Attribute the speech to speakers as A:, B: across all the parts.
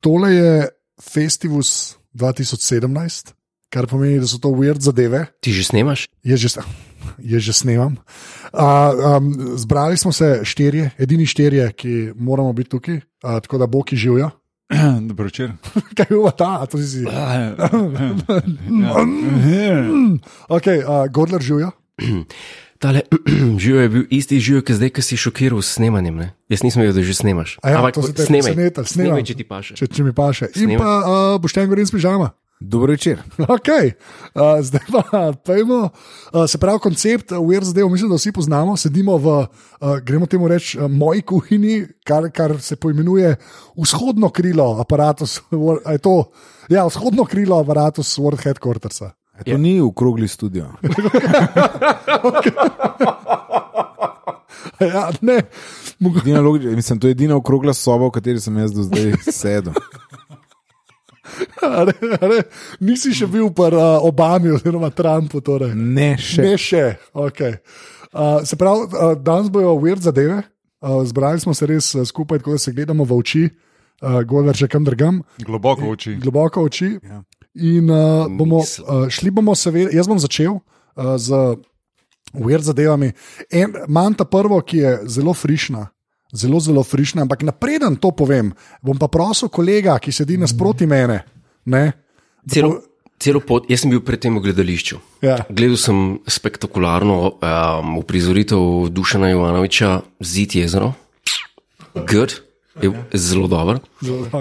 A: Tole je Festivus 2017, kar pomeni, da so to weird zadeve.
B: Ti že snemaš?
A: Je že, je že snemam. Uh, um, zbrali smo se štirje, edini štirje, ki moramo biti tukaj, uh, tako da boki živijo.
C: Dobro večer.
A: Kaj je bila ta, A, to si si. Ok, uh, Godler živijo.
B: Tale živo je bil isti živo, ki zdaj, ki si šokiral s snemanjem. Ne? Jaz nisem vedel, da že snemaš.
A: A ja,
B: Ampak
A: to se te
B: snemaj,
A: presenetilo, snemam.
B: snemaj, če ti paše.
A: Če, če mi paše. In
B: Snemaj.
A: pa uh, boš tam govoril s pižama.
C: Dobro večer. E,
A: Okay. Uh, zdaj pa pojmo. Uh, se pravi, koncept uh, weird zadev, mislim, da vsi poznamo. Sedimo v, uh, gremo temu reči, uh, moji kuhinji, kar, kar se poimenuje vzhodno krilo aparatus. Wor- a je To, ja, vzhodno krilo aparatus World Headquartersa.
C: E,
D: Ja.
C: to ni okrogli studio.
A: Ja, ne, mogo-
C: Edina logi- Mislim, to je edina okrogla soba, v kateri sem jaz do zdaj sedel.
A: a ne, a ne, nisi še bil pri uh, Obami oziroma Trumpu. Torej.
C: Ne še.
A: Ne še. Okay. Uh, se pravi, uh, danes bojo weird zadeve. Uh, zbrali smo se res uh, skupaj, tako da se gledamo v oči, uh, golar še kam drugam,
D: Globoko v oči.
A: globoko v oči.
B: Ja.
A: In uh, bomo, uh, šli bomo, seveda, jaz bom začel uh, z weird zadevami. En, Imam ta prvo, ki je zelo frišna. Zelo, zelo frišna, ampak napreden to povem, bom pa prosil kolega, ki sedi nasproti mene. Ne?
B: Celo, celo pot, jaz sem bil predtem v gledališču.
A: Ja.
B: Gledal sem spektakularno um, uprizoritev Dušana Jovanoviča, Zid jezero. Good, je zelo dober.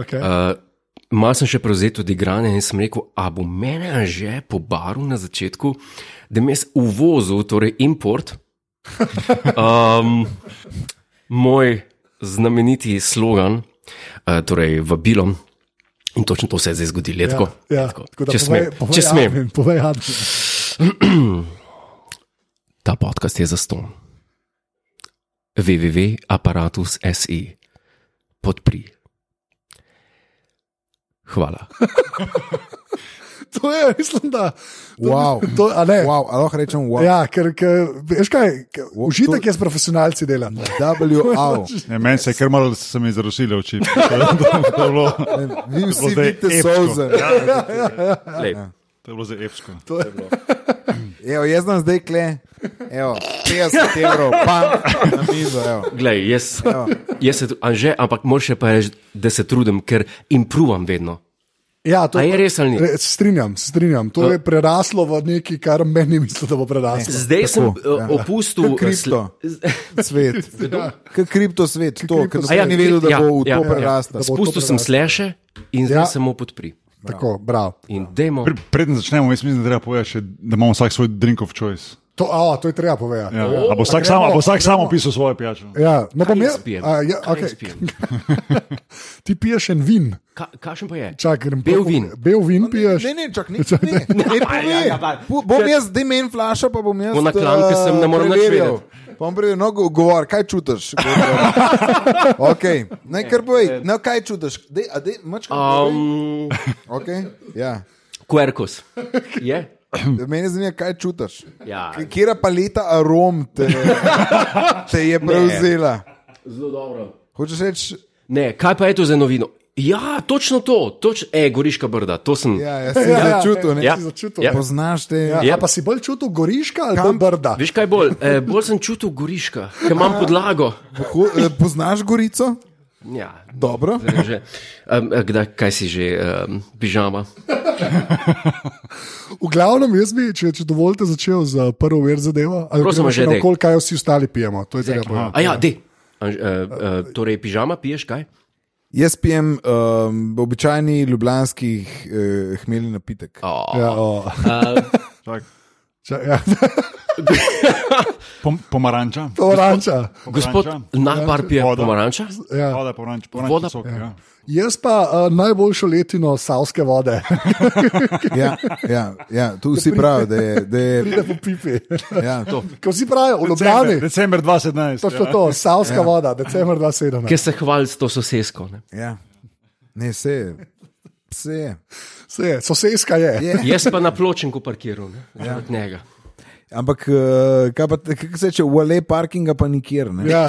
A: Okay.
B: Uh, Mal sem še prevzel tudi igranje in sem rekel, a bo mene že po baru na začetku, da me je uvozil, torej import. Um, moj znameniti slogan, uh, torej vabilom. In točno to se je zdaj zgodilo, je tako. Je
A: ja,
B: tako.
A: tako da
B: Če
A: povej-
B: smem,
A: povej ja.
B: če smem.
A: Admin, povej, Admin.
B: Ta podcast je za ston. www.apparatus.se podpri. Hvala.
A: To je, mislim, da. To,
C: Wow.
A: To, a ne, wow.
C: Wow, a lahko rečem, wow.
A: Ja, ker, ker, veš kaj, ker
C: Wo-
A: užitek
C: to-
A: je s profesionalci delati.
C: WAU.
D: Ja, meni se je kar malo se mi zrušile oči. To je bilo-
C: Vi vsi
D: zdaj
C: vidite
D: epsko. Ja.
C: solze.
A: Ja,
B: Lej,
D: To je bilo zdaj epsko.
C: Evo, jaz sem zdaj kle. Evo, 50 evrov, pa na mizo. Evo.
B: Glej, jaz, jaz se, tru- Anže, ampak moraš še pa reči, da se trudim, ker improvam vedno.
A: Ja, to
B: A je res ali ni?
A: Re, strinjam, se strinjam. To je preraslo v nekaj, kar meni misli, da bo preraslo.
B: Zdaj Tako, sem ja. opustil eh,
C: Kot kripto. Svet.
D: Ja.
C: Kot kripto svet, to, ker
B: A ja,
C: noben ni vedel, da
B: ja,
C: bo v
B: ja,
C: to
B: ja.
C: prerastel.
A: bo to
B: Spustil sem
A: preraslo.
B: sleše in zdaj
A: Ja.
B: ja. samo podpri.
A: Tako, bravo.
B: In dajmo.
D: Pre- Preden začnemo, jaz mislim, da treba povedati, še, da imamo vsak svoj drink of choice.
A: To, a, to je treba povedati.
D: Ja. A bo vsak, sam, a bo vsak sam opisal svojo pijačo?
A: Ja, no, bom jaz.
B: spijem?
A: a, Ja,
B: Kaj
A: okay.
B: spijem?
A: Ti piješ en vin,
B: Ka, kašen pa je?
A: čak, grem
B: Bel
A: po-
B: vin.
A: Bel vin piješ.
C: Ne, ne, čak, ne, ne. ne
B: Ja, ja,
C: pove.
B: pa-
C: Bu- Bom jaz zdaj men flaša, pa bom jaz. eh,
B: Bo na klanke sem, ne morem nič vedeti.
C: Bom preveril, no, go- govor, kaj čutiš? okay. Ne, kar
B: Eh,
C: povej, no, kaj čutiš? Dej, a dej, mačka, um.
B: Um,
C: okay? ja.
B: Quercus. Je?
C: Mene zanima, kaj čutiš.
B: Ja.
C: K- Kera paleta arom te, te je prevzela?
B: Zelo dobro.
C: Hočeš reči,
B: Ne, kaj pa je to za novino? Ja, točno to, toč, e, Goriška brda, to sem.
C: ja, jaz sem ja, začutil, ne?
B: Ja.
A: si začutil.
B: Ja.
A: ne.
C: Poznaš te.
A: Ja,
B: Ja.
A: a Pa si bolj čutil goriška ali bolj brda?
B: Veš kaj bolj? E, bolj sem čutil Goriška, ker imam podlago.
C: Ho, eh, poznaš Gorico?
B: Ja,
C: Dobro.
B: že. Um, kdaj, kaj si že, um, pižama?
A: V glavnem, jaz bi, če, če dovolite, začel z prvo ver zadevo. Ali
B: Prosim,
A: gremo še
B: že, dej.
A: naokol, kaj vsi ostali pijemo. To je treba povedati.
B: A ja, de. Uh, uh, torej, pižama piješ kaj?
C: Jaz pijem um, običajni ljubljanski uh, hmelj napitek.
B: Oh.
A: Ja, o.
D: Čak.
A: Ča, ja,
D: Pom, pomaranča.
A: oranča.
B: Gospod
D: Pomaranča.
B: Nahbar pije
D: Voda.
B: pomaranča?
A: Ja.
D: Voda, pomaranč,
B: Voda.
D: pomaranč, sok. Ja.
A: Jaz pa uh, najboljšo letino savske vode,
C: Ja, ja, ja, tu vsi pravijo, da je. Da je
A: da po pipi.
C: ja.
A: Ko vsi pravijo, v
D: December,
A: Ljubljani,
D: december 2017.
A: točno to, savska ja. voda, decembr 2017.
B: Ker se hvali s to sosesko. Ne?
C: Ja. Ne, vse je. Vse je.
A: Se je, Soseska je.
C: Je.
B: Jaz pa na pločenku parkiram, ne? od njega.
C: Ampak, eh, kaj pa, kako se reče, vale parkinga pa nikjer. Ne?
A: Ja,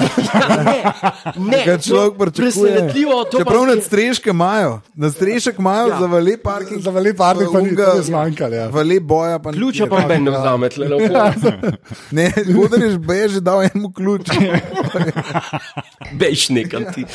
B: Ne, no,
C: Kaj človek pričakuje.
B: Presenetljivo, to
C: Čeprav
B: pa
C: nad streške imajo, nad strešek imajo ja. za vale parking.
A: za velik parnik pa ni
C: Unga-
A: ga zmanjkalo. Ja.
C: Vale boja pa
B: Ključa
C: nikjer. no.
B: pa meni ne vzame, tle lepo.
C: Ne, Gudariš je že dal enemu ključ.
B: Bejš nekam ti.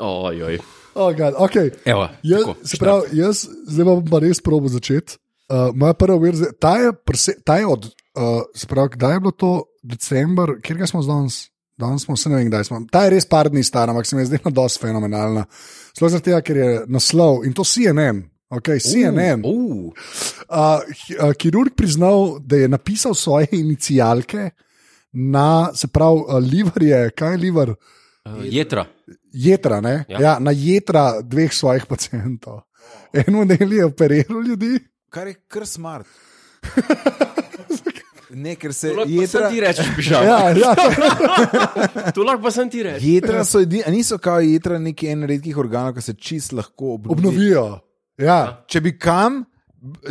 B: Ojoj.
A: Oh, God, okay.
B: Evo,
A: jaz,
B: tako,
A: se pravi, jaz zdaj bom pa res probo začeti. Uh, moja prva verza, ta je, prese, ta je od, uh, se pravi, kdaj je bilo to, december, kjer ga smo danes, danes smo vse ne vem, kdaj smo. Ta je res par dni stara, ampak se mi je zdela dosti fenomenalna. Sploh zaradi tega, ker je naslov in to CNN. Okay, CNN. Uh,
B: Uh,
A: uh, kirurg priznal, da je napisal svoje inicijalke na, se pravi, uh, liver je, kaj je liver?
B: jetra.
A: jedra, ne?
B: Ja.
A: ja. Ja, na jedra dveh svojih pacijentov. Eno del je operiral ljudi,
C: Kar je kar smart. Ne, ker se
B: Lahko
C: jedra,
B: sem ti rečeš, pižam.
A: ja, ja,
B: To lahko pa sem ti rečeš.
C: jedra so edini, a niso kao jedra neki en redkih organov, ki se čist lahko obnovi.
A: obnovijo. Ja.
C: Če bi kam,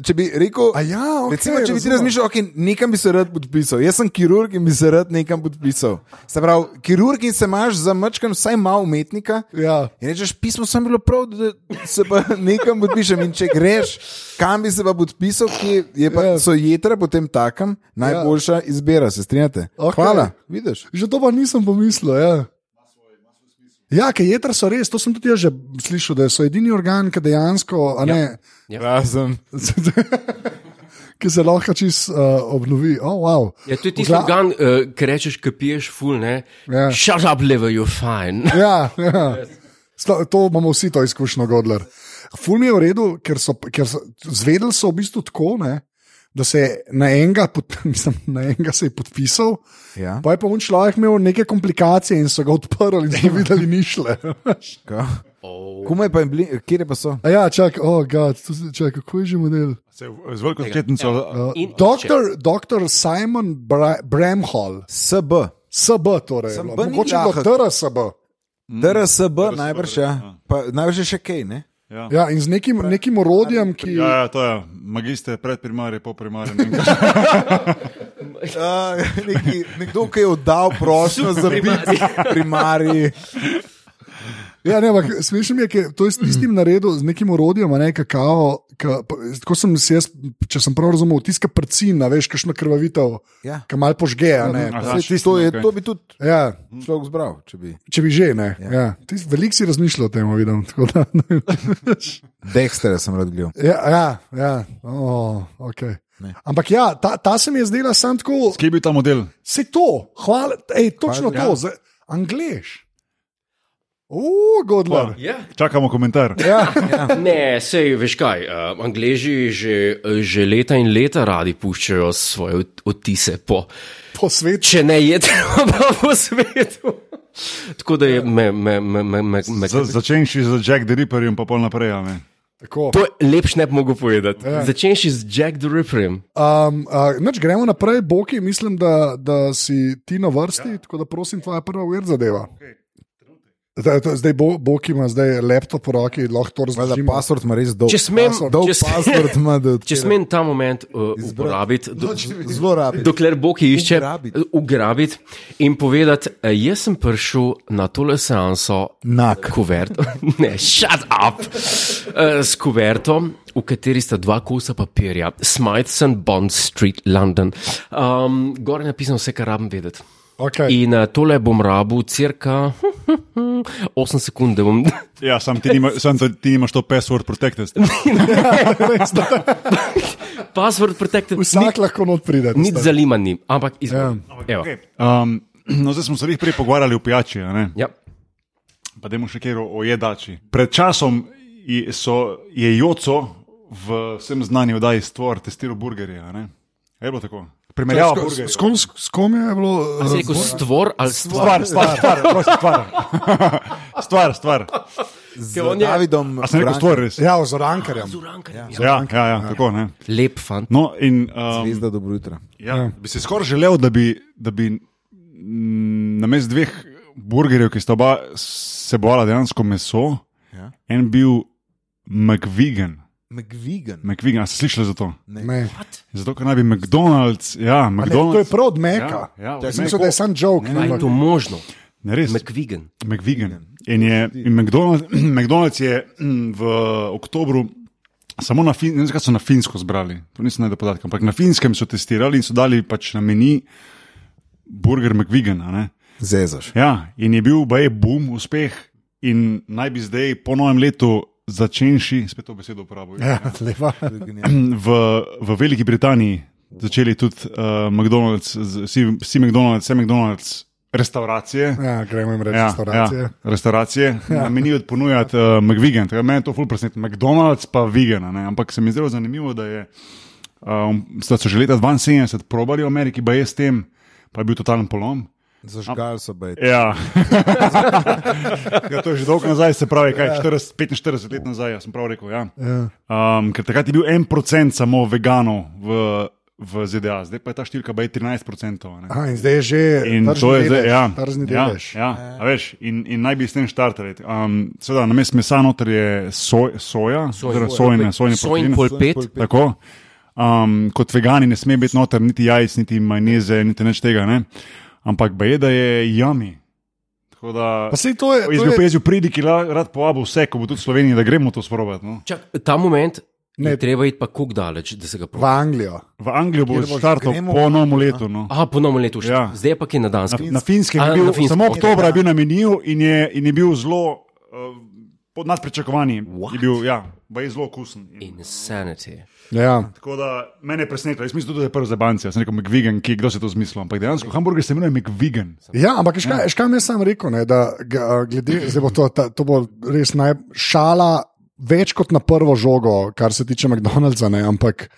C: če bi rekel,
A: A ja, okay,
C: recimo, če bi ti
A: razumem.
C: razmišljal, okay, nekam bi se rad podpisal. Jaz sem kirurg in bi se rad nekam podpisal. Se pravi, kirurg in se imaš za mačkan vsaj malo umetnika.
A: Ja.
C: In rečeš, pismo sem bilo prav, da se pa nekam podpišem. In če greš, kam bi se pa podpisal, ki je pa,
A: Ja.
C: so jedra potem takem najboljša izbira, se strinjate.
A: Okej.
C: Hvala, vidiš.
A: Že to pa nisem pomislil. Ja. Ja, ker jedra so res, to sem tudi jaz že slišal, da so edini organ, ki dejansko, a ne, Ja.
C: Razen.
A: ki se lahko čist uh, obnovi. Oh, wow.
B: Ja, to je tisti
A: Gla-
B: organ, uh, ki rečeš, ki piješ ful, ne?
A: Ja.
B: Shut up, liver, you're fine.
A: Ja, ja. Sto- To imamo vsi to izkušnjo, Godler. Ful mi je v redu, ker so, ker so zvedeli so v bistvu tako, ne, da se je na enega, pod, mislim, na enega se je podpisal,
C: Ja,
A: pa je pa un človek imel neke komplikacije in so ga odprli in so videli nišle.
C: ka. Kumaj pa je bili, kje pa so?
A: A ja, čak, oh, God, to se- čak, kako je že model?
D: Se v- Z veliko skretnico.
B: In
A: Doktor, doktor Simon Bra Bramhall,
C: SB.
A: SB torej, je bilo.
C: SB ni
A: mogoče do
C: lahek.
A: TRSB. Mm.
C: DRSB, najbrž, ja. Pa, najbrž je še kaj, ne?
D: Ja.
A: Ja, in z nekim, nekim orodjem, ki.
D: Ja, ja, to je magister, predprimarij, poprimarij. ne vem, kaj.
C: Uh, neki, nekdo, ki je oddal prošnjo za biti primarij.
A: Ja, ne, ampak smešno mi je, ker to je
C: Mhm.
A: s tistim naredil, z nekim urodjem, a ne kakao. Ka, pa- tako sem si jaz, če sem prav razumel, tiska prcina, veš, kakšno krvavitev,
C: Ja. Mhm.
A: ki mal požge. a Ne,
D: Ja,
C: Saj
D: tisto,
C: To, je,
D: okej.
C: to bi tudi
A: ja,
C: človek zbral, če bi.
A: če bi že, ne. Ja. Ti si- Veliko si razmišljal o tem, vidim. tako Da, ne.
C: Dexter sem rad gledal.
A: ja, ja, ja. Oh, okay. Ampak ja, ta, ta se mi je zdela sam tako,
D: Kje je bil ta model?
A: se to, hvala, ej, točno
C: Hvala, ja.
A: to, za Anglež. O, Godler.
B: Ja.
D: Čakamo komentar.
B: Ne, sej veš kaj. Uh, Angleži že, eh, že leta in leta radi puščajo svoje ot- odtise po,
A: Po svetu.
B: če ne je treba po svetu. Tako da je me, me, me, me, me, me
D: Za- Začenši z Jack the Ripperjem, pa pol naprej. a ne.
A: Tako.
B: To lepš ne bi mogel povedati. Ja. Začenš z Jack the Ripperjem.
A: Um, uh, nač, gremo naprej, Boki, mislim, da, da si ti na vrsti, ja. tako da prosim, tvoja prva uvir zadeva. Zdaj, to- zdaj bo, Boki ima zdaj laptop v roki, lahko to
C: Hvala,
A: razloži.
C: password ima res dolg.
B: Če smem-
C: dolg
B: če smem-
C: password ima, da
B: Če smem ta moment uh, uporabiti, do,
C: zelo rabi.
B: dokler Boki išče,
C: Ugrabiti.
B: ugrabiti in povedati, eh, jaz sem prišel na tole seanso
C: Nak.
B: kuverto, ne, shut up, Eh, s kuverto, v kateri sta dva kosa papirja, Smithson, Bond Street, London. Um, gor je napisano vse, kar rabim vedeti.
A: Okay.
B: In eh, tole bom rabu cirka 8 sekund, da bom.
D: Ja, sam ti, nima, sam to- ti nimaš to password protected.
B: Password protected.
A: Vsak lahko not pride.
B: Nič
A: tisto.
B: zanima ni, ampak izvem. Ja.
D: Okay. Um, no, zdaj smo se jih prej pogovarjali o pijači, a ne?
B: Ja.
D: pa dajmo še kjer o o jedači. Pred časom je, so, je Joco v vsem znani oddaji stvar testiral burgerje. a ne. A Je bilo tako? Primerjava
A: Sko-
D: burgerje.
A: s kom- S kom je bilo?
B: Se je rekel stvor ali stvar?
D: Stvar, stvar, stvar, prosim, stvar. Stvar, stvar.
C: Z
B: Ker on je-
C: Davidom.
D: A sem rekel stvar res?
A: Ja, z orankarjem.
D: Ja, ja, ja tako ne.
B: Lep fant.
D: No, in, um,
C: Zvezda, dobro jutro.
D: Ja, bi si skoraj želel, da bi, da bi mm, namesto dveh burgerjev, ki sta oba sebovala dejansko meso,
C: Ja.
D: en bil McVigan.
C: McVigan.
D: McVigan, a ste slišali za to?
A: Ne.
D: Zato, ker naj bi McDonald's, ja,
A: Ne, to je
D: McDonald's.
A: prav od Meka.
D: Ja, ja, od
A: Jaz
D: Meka.
A: mislim, da je sam joke.
B: Kaj je to možno?
D: Ne res.
B: McVigan.
D: McVigan. In, je, in McDonald's, McDonald's je mm, v oktobru. Samo na, fin, ne vem, zakaj so na Finsko zbrali, to nisem najdel podatka, ampak na Finskem so testirali in so dali pač na meni burger McVigan. a ne.
C: Zezaš.
D: Ja, in je bil baje boom, uspeh, in naj bi zdaj po novem letu začenši, spet to besedo uporabljam,
A: Ja, lepa.
D: v, v Veliki Britaniji začeli tudi uh, McDonald's, z- vsi, vsi McDonald's, vse McDonald's, restauracije.
A: Ja, gremo jim reči,
D: Ja,
A: restauracije.
D: Ja, restauracije ja. na meniju ponujati uh, McVigan. Tako da Meni je to ful presenečen. McDonald's pa vegan, a ne? ampak se mi je zelo zanimivo, da, je, um, da so že leta 72 probali v Ameriki, pa je s tem, pa je bil totalen polom.
C: Zažgal so bej.
D: Ja. ja, to je že dolgo nazaj, se pravi, kaj, 40, 45 let nazaj, ja, sem prav rekel. Ja. Um, ker takrat je bil 1% samo veganov v, v ZDA, zdaj pa je ta številka baje 13%. a ne.
A: Aha, in zdaj je že
D: In
A: tržni
D: to je zdaj,
A: delež,
D: ja,
A: tržni
D: ja,
A: delež.
D: ja, a veš, in, in naj bi s tem štartali. Um, Seveda, na mestu mesa noter je soj, soja, oziroma sojne, sojne
B: Sojn
D: proteine.
B: polpet.
D: Tako. Um, kot vegani ne sme biti noter niti jajc, niti majneze, niti nič tega. Ne? Ampak baje, da je jami. Tako da.
A: Pa sej to je.
D: Jaz
A: To
D: bi
A: je
D: opazil pridiki, rad povabil vse, ko bo tudi v Sloveniji, da gremo to sprobati. No.
B: Čak, ta moment ne.
A: Ne.
B: je treba iti pa kuk daleč, da se ga
A: v
B: proba.
A: Anglijo.
D: V Anglijo bo
C: Kjer boš,
D: štartal
C: gremo?
D: po novem letu. No.
B: Aha, ponovno leto še.
D: Ja.
B: Ja. Zdaj je pa kje na Danskem.
D: Na, na finskem
B: A,
D: je
B: na
D: bil,
B: Finskem,
D: samo
B: okej.
D: oktober je bil na meniju in je, in je bil zelo uh, nad pričakovanji.
B: What?
D: Je bil, ja, baje zelo okusen. In,
B: Insanity.
A: Ja.
D: tako da mene je presenetilo, jaz mislim, tudi, da je prvo za banci, jaz sem rekel McVigan, ki kdo se je to zmislil, ampak dejansko hamburger se imenuje McVigan.
A: Ja, ampak veš kaj, veš, kaj mi je sam rekel, ne, da ga, glede, zdaj bo to, ta, to bo res najšala, več kot na prvo žogo, kar se tiče McDonald'sa. Ne, ampak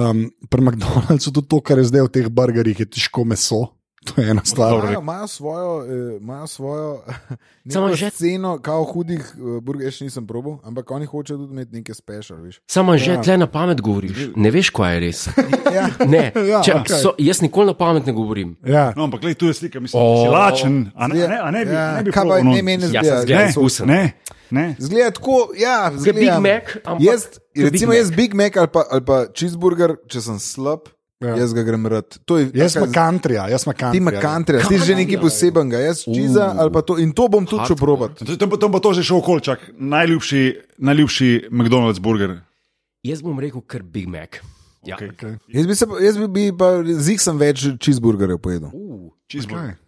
A: um, pri McDonald'su tudi to, kar je zdaj v teh burgerjih, je težko meso. To je ena stvar.
D: Dobro.
C: Imajo imajo svojo, eh, imajo svojo
B: Samo
C: neko
B: že-
C: sceno, kao hudih eh, burgerjev, še nisem probal, ampak oni hočejo tudi imeti neke special, veš.
B: Samo že ja. tle na pamet govoriš, ne veš, kaj je res.
C: Ja.
B: Ne,
A: Ja,
B: ja, Čak,
A: okej.
B: okay. so, jaz nikoli na pamet ne govorim.
A: Ja.
D: No, ampak gledaj, tu je slika, mislim,
B: O.
D: oh, si lačen, a ne, a ne, a ne bi,
C: Ja,
D: ne bi
C: kaj pa
D: probal, no.
C: ne meni
B: Ja,
C: zgleda?
B: sem zgleda
D: Ne,
B: Okusen.
D: ne, ne.
C: Zgleda tako, ja,
B: Kot Big
C: zgleda.
B: Mac, ampak
C: Jaz,
B: kot Big
C: recimo,
B: Mac.
C: jaz Big Mac ali pa, ali pa cheeseburger, če sem slab,
A: Ja.
C: ja. jaz ga grem rad. To je,
A: Jaz
C: taka
A: sem country, jaz sem
C: Ti
A: country. ja. Uh.
C: imaš country, ti si že
B: ja.
C: nekaj posebenega, jaz čiza ali pa to. In to bom tudi šel probat.
D: To- Tam bo, tam bo to že šel okolčak, najljubši, najljubši McDonald's burger.
B: Jaz bom rekel, ker Big Mac. Ja. Okay.
C: Jaz bi, se, pa- jaz bi, bi pa zig sem več cheeseburgerjev pojedel.
B: Uh.
D: Cheeseburger.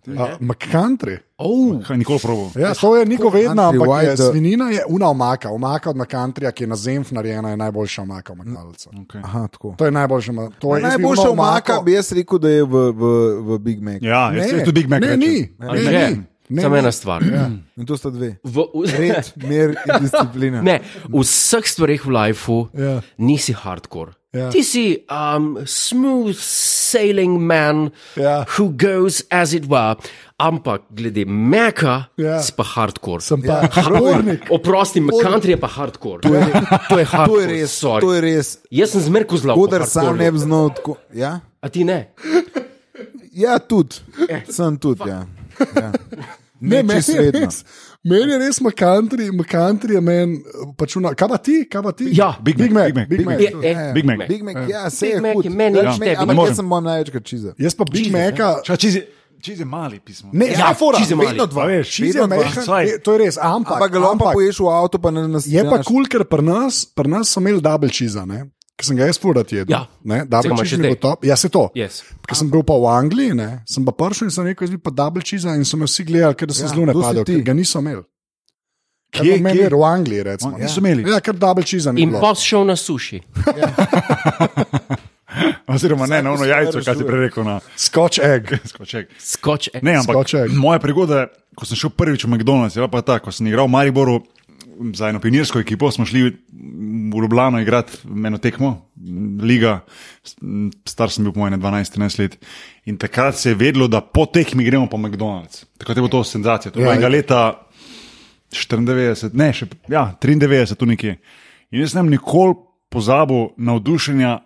A: McCountry.
B: Oh.
D: Kaj nikoli probal.
A: Ja, to je niko vedno,
C: Country
A: ampak je,
C: white, uh,
A: svinina je una omaka. Omaka od McCountryja, ki je na zemlji narejena, je najboljša omaka v McDonald'su.
D: Okay.
C: Aha, tako.
A: To je najboljša omaka. To je jaz bi
C: Mm, No, Najboljša
A: ono
C: omaka
A: omako-
C: bi jaz rekel, da je v, v, v Big Mac.
D: Ja, jaz sem
A: Ne,
D: tudi Big Mac.
A: ne,
D: rečem.
A: ni.
B: Ne,
A: Ne,
B: ne,
A: ni. Ne,
B: Samo
A: ni.
B: ena stvar. Ja.
C: In to sta dve.
B: V, v,
C: Red, mir in disciplina.
B: ne, v vseh stvareh v lifeu
A: Ja.
B: ja. nisi hardcore.
A: Ja.
B: Ja. Ti si um, smooth sailing man,
A: Ja.
B: who goes as it were. Ampak glede meka,
A: Ja.
B: ja. si pa hardcore.
A: Sem pa
C: Ja,
A: športnik.
B: Oprosti, country je pa hardcore. To je, to je hardcore.
C: To je res,
B: sorry.
C: to je res.
B: Jaz sem zmerko zelo
C: Kodar sam ne bi znal tako. Ja,
B: A ti ne?
C: ja tudi. Sem tudi, ja. ja.
A: Eh. Ne,
C: Ne,
A: meni
C: čisto
A: je
C: vedno.
A: res, meni je res McCountry, McCountry je meni pačuna. Kaj pa ti, kaj pa ti?
B: Ja.
D: Big Mac.
A: Big Mac,
D: Big Mac.
A: Big Mac.
B: Je, eh,
D: Big Mac.
C: Big Mac, ja, se
B: Big
C: je
B: Mac
C: hud.
B: je meni nič tebi.
C: Ampak
D: Ne
C: jaz
D: morem.
C: sem moj največkrat čiza.
A: Jaz pa Big Maca.
D: Ča, čiz, je- čiz je mali pismo.
A: Ne, ja,
B: Ja,
A: fora.
B: cheese je mali.
A: Vedno dva.
D: A veš,
A: Cheese je
D: vedno dva.
A: mehak,
D: Saj.
A: je- To je res, ampak.
C: Ampak ga lompa
A: Ja, ampak
C: poješ v avto, pa ne nas
A: Je pa kul, cool, ker pri nas, pri nas so imeli double cheese, ne? ker sem ga jaz furat jedel.
B: Ja.
A: ne,
B: Saj
A: double
B: ga imaš
A: cheese
B: še
A: mi je
B: zdaj.
A: bil top. Ja, se to.
B: Yes.
A: Ker sem bil pa v Angliji, ne? sem pa prišel in sem rekel, jaz bi pa double cheese in so me vsi gledali, ker sem
C: Ja,
A: ja, zelo
C: to si
A: napadel,
C: ti.
A: ker ga niso imeli.
D: Kje,
A: Kje, kje?
D: kje?
A: V Angliji, recimo.
D: Oni niso imeli.
A: Ja, ker double cheese ni
B: No, In
A: bilo.
B: pa si šel na suši.
D: Oziroma, ne, na ono
C: Vsak
D: jajco, kaj si
C: rešuje.
D: prej rekel. Na,
A: Scotch egg.
D: skoček.
B: Skoč. eh.
D: Ne, ampak
A: Skoček.
D: moja prigoda, ko sem šel prvič v McDonald's, je bila pa ta, ko sem igral v Mariboru za eno pionirsko ekipo, smo šli v Ljubljano igrati eno tekmo, liga, star sem bil po mojem 12-13 let. In takrat se je vedelo, da po tekmi gremo po McDonald's. Takrat je bilo to senzacija. To
A: Ja,
D: je bilo enega
A: ja.
D: leta 94, ne, še, ja, 93, tu nekje. In jaz sem nikoli pozabil navdušenja,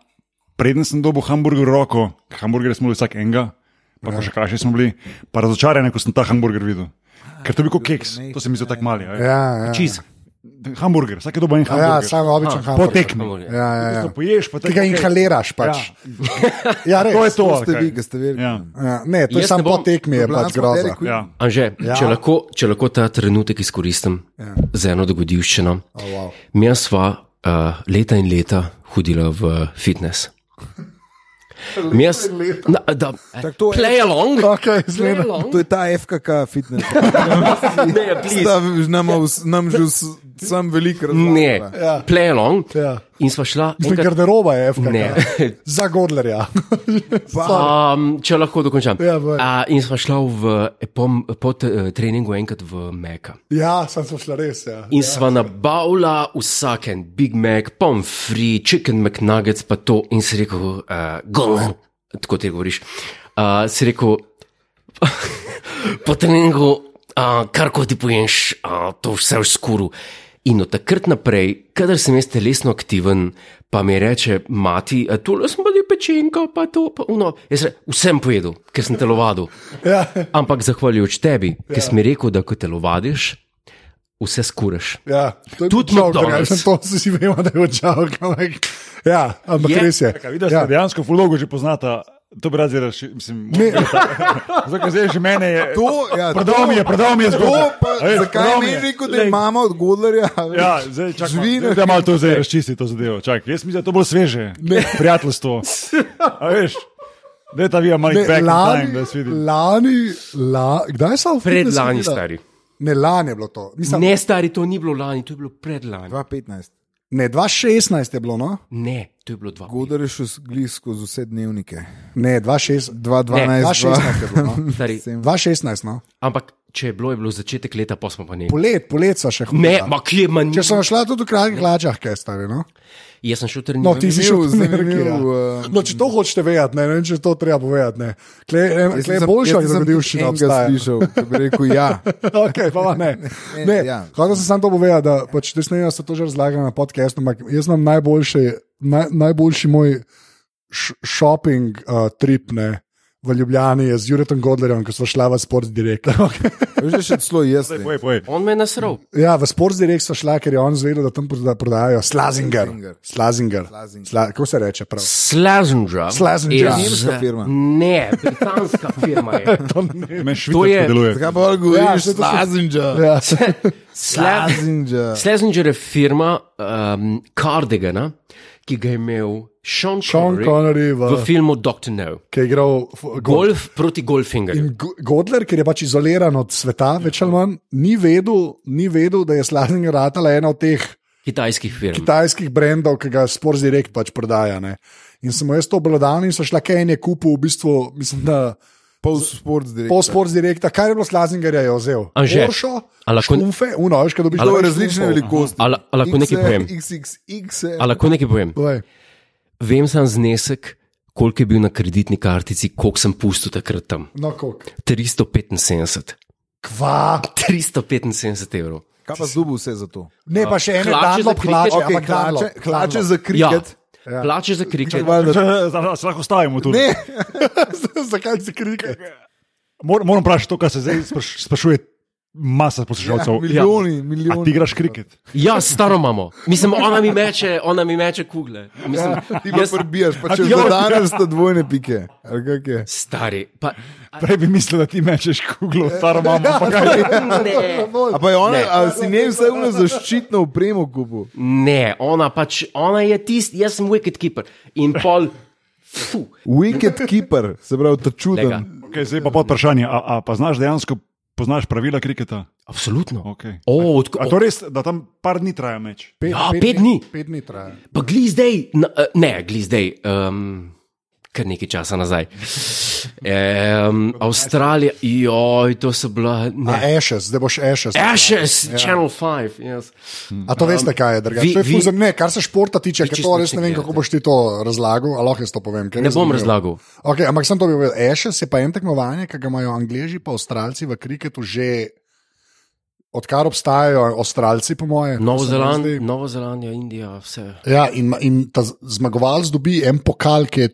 D: preden sem dobil hamburger v roko, hamburger smo bili vsak enega, pa, pa še krajši smo bili, pa razočarani, ko sem ta hamburger videl. Ker to je bil kot keks, to se mi zdi tako mali. a veš.
A: Ja, ja.
B: Cheese.
D: Hamburger, vsak je dobil en
A: Ja,
D: hamburger.
A: samo običajen
B: Aha,
A: hamburger.
D: po tekmi.
B: Hamburger.
A: Ja, ja,
D: Tisto
A: ja.
D: Poješ, pa
A: Ti ga inhaliraš pač. Ja, res.
D: To je to. ali
C: ste
D: kaj?
C: vi, ki ste verjeli.
D: Ja.
A: Ja, ne, to je
B: Jaz ne
A: samo po
B: bom-
A: tekmi, je pač groza.
D: Ja.
B: Anže, ja. če, lahko, če lahko ta trenutek izkoristim ja. za eno dogodivščino.
A: Oh, wow.
B: Mi smo uh, leta in leta hodili v fitness. Mi smo
C: Tako to je-
B: play along.
A: Okej,
B: play
A: zgleda.
B: along.
C: To je ta FKK fitness.
B: Ne, please.
C: Sta, nam, nam že vs- sam veliko razumem.
B: Ne, play along.
A: Ja.
B: In sva šla.
A: Mislim,
B: enkrat-
A: garderoba je FK.
B: Ne.
A: Za Godlerja.
B: Um, če lahko dokončam.
A: Ja, boj.
B: A, in sva šla v, po, po t- treningu enkrat v Meka.
A: ja, sem se šla res. Ja.
B: In sva nabavila vsak en Big Mac, pommes frites, chicken McNuggets, pa to. In si rekel, uh, gol, tako ti govoriš. Uh, si rekel, po treningu, uh, kar ko ti poješ, uh, to vse v skuru. In od takrat naprej, kadar sem jaz telesno aktiven, pa mi reče mati, tu sem pa ti pečenka, pa to, pa uno. Jaz rečem, vsem pojedel, ker sem telovadil.
A: Ja.
B: Ampak zahvaljujoč tebi, ja. ki si mi rekel, da ko telovadiš, vse skuraš.
A: Ja, to je
B: Tudi
A: joke,
B: McDonald's.
A: ja, sem to si si vemo, da je odžal. Ja, ampak
B: Je.
A: je. res je.
D: Kaj, vidiš,
A: ja.
D: ja. dejansko fulogo že poznata. To bi rad zdaj rešil. mislim, Zato, ker zdaj že mene je.
C: To, ja,
D: Prodal mi je, prodal mi je
C: To,
D: zgodbo.
C: pa,
D: A veš,
C: zakaj
D: prodal
C: mi
D: mi
C: je
D: je.
C: rekel, da je mama od Godlerja? a veš?
D: Ja, zdaj čakam,
C: Živi na-
D: da malo to zdaj razčisti to zadevo. Čak, jaz mislim, da je to bolj sveže. Ne. Prijateljstvo. A veš, da je ta vija malo
A: Ne,
D: back in time, da se
A: lani,
D: vidi.
A: lani, la, kdaj sem
B: Pred lani, stari.
A: Ne, lani je bilo to. Mislim, ne.
B: Ne, stari, to ni bilo lani, to je bilo predlani.
C: 2015.
A: ne, 2016 je bilo, no?
B: Ne, to je bilo dva.
C: Godler je šel glis skozi vse dnevnike.
A: Ne, 2016. 2016 je
C: 2012.
A: bilo. No?
B: Stari.
A: 2016, no.
B: Ampak če je bilo, je bilo začetek leta, pa smo pa ne.
A: Polet, polet so še hodili.
B: Ne, ma kje manj.
A: Če sem šla tudi v kratkih hlačah, kaj stari, no?
B: Jaz sem šel
A: No,
B: trenirati.
A: ti si šel
C: Zanimiv,
A: z nekaj.
C: zanimiv,
A: Ja.
C: eh,
D: um,
A: No, če to hočeš vedeti, ne, ne vem, če to treba povedati. ne. Kle
C: Jaz
A: je
C: nisem-
A: boljša, da
C: jaz nisem
A: bi
C: tudi
A: všel
C: enega slišal, ki bi rekel ja.
A: okay, pa pa ne. ne,
C: Ne,
A: ne
C: ja.
A: Hotel sem samo to povedati, da pač te snejo se to že razlaga na podkastu, ampak jaz imam najboljši, naj, najboljši moj š- shopping uh, trip ne, v Ljubljani je z Juretom Godlerjem, ko smo šla v Sports Direct.
C: Veš, da še celo jaz. ne.
D: Poj, poj.
B: On me je nasrl.
A: ja, v Sports Direct smo šla, ker je on zvedel, da tam proda- prodajajo slazinger.
C: Slazinger.
A: Slazinger.
C: Slazinger.
A: Sla, kako se reče prav?
B: Slazenža.
A: Slazenža.
C: Nemška firma.
B: Ne, britanska firma je.
D: Meni
B: To je-
D: švicarsko deluje.
C: Zakaj pa govoriš
A: Ja, saj to so-
C: Slazinja?
A: Ja.
B: Sla-
C: Slazinja.
B: Slazenger je firma um, Cardigana, ki ga je imel Sean
A: Sean
B: Connery,
A: Connery v,
B: v filmu Doctor No.
A: ki je igral f- golf.
B: Golf proti golfingerju.
A: In Go- Godler, ker je pač izoliran od sveta, več ali manj, ni vedel, ni vedel da je Slavinger ratala ena od teh
B: kitajskih firm.
A: kitajskih brendov, ki ga Sports Direct pač prodaja. Ne. In sem mu jaz to obladal in so šla kaj en je kupil, v bistvu, mislim, da
C: Pol sports direktor.
A: po Sports Directa, kar je bilo Slavingerja, je vzel.
B: Anže,
A: Oršo,
B: a lahko-
A: šumfe, uno, veš, kaj dobiš.
C: To
A: dobiš
C: je različne
A: šumfov.
C: velikosti.
B: A la- a lahko
A: E-
B: nekaj
C: XL,
B: povem?
C: XXX.
B: A lahko nekaj povem?
A: Povej.
B: Vem sam znesek, koliko je bil na kreditni kartici, koliko sem pustil takrat tam.
A: No, koliko?
B: 375.
A: Kva.
B: 375 evrov.
C: Kaj pa zdubu vse za to?
A: Ne, pa še ene
B: Hlače za
A: Dunlop
B: kriket?
A: hlače,
C: Okay,
A: ampak
C: hlače,
A: Dunlop,
C: hlače
A: Dunlop.
C: za
B: Ja,
C: kriket.
B: ja. Plače za kričanje.
D: Zdaj se lahko stavimo tu.
C: Ne,
A: Zakaj si kriket?
D: Mor, moram vprašati to, kar se zdaj spraš, sprašuje masa poslušalcev.
C: Ja, milijoni, milijoni.
D: A ti igraš kriket?
B: Ja, staro imamo. Mislim, ona mi meče, ona mi meče kugle. Mislim,
C: ti pa
B: jaz,
C: prbijaš, pa če
D: A
C: že
D: ja.
C: danes sta dvojne pike. ali kako je?
B: stari. Pa,
D: Prej bi mislil, da ti mečeš kuglo, staro mamo. pa kaj.
B: ne,
C: A pa je ona,
B: Ne.
C: a si ne vse vno zaščitno upremo kupu.
B: ne, ona pač, ona je tisti, jaz sem wicked keeper. In pol, fu,
C: Wicked keeper, se pravi, ta
B: lega.
C: čuden.
D: Okay, zdaj pa pod vprašanje, a, a pa znaš dejansko poznaš pravila kriketa?
B: Absolutno.
D: Okay.
B: O, od,
D: A to res, da tam par dni traja meč?
A: Pet,
B: Ja, pet dni.
A: Pet dni traja.
B: Pa gli zdaj, na, eh, ne, gli zdaj, um, kar nekaj časa nazaj. Um, Avstralija, joj, to so bila.
A: A eh, ja.
B: Ne.
A: Ashes, zdaj boš Ashes.
B: Ashes, Channel 5. Yes.
A: A to veste, kaj je drugače?
B: Um, Vi-
A: To je ful
B: vi-
A: za- Ne, kar se športa tiče, ker
B: čisto
A: to
B: nič
A: res ne
B: ne
A: vem,
B: gledate.
A: kako boš ti to razlagal, ali lahko jaz to povem. ker
B: Ne
A: res
B: bom
A: vem.
B: razlagal.
A: Okay, ampak sem to bi povedal. Ashes je pa en tekmovanje, ki ga imajo Angliji, pa Avstralci v kriketu že odkar obstajajo, Avstralci, po moje. to
B: Novo
A: se mi
B: Zeland,
A: zdi.
B: Novo Zelandija, Indija, vse.
A: Ja, in, in ta z- zmagovalec dobi en pokal, ki je,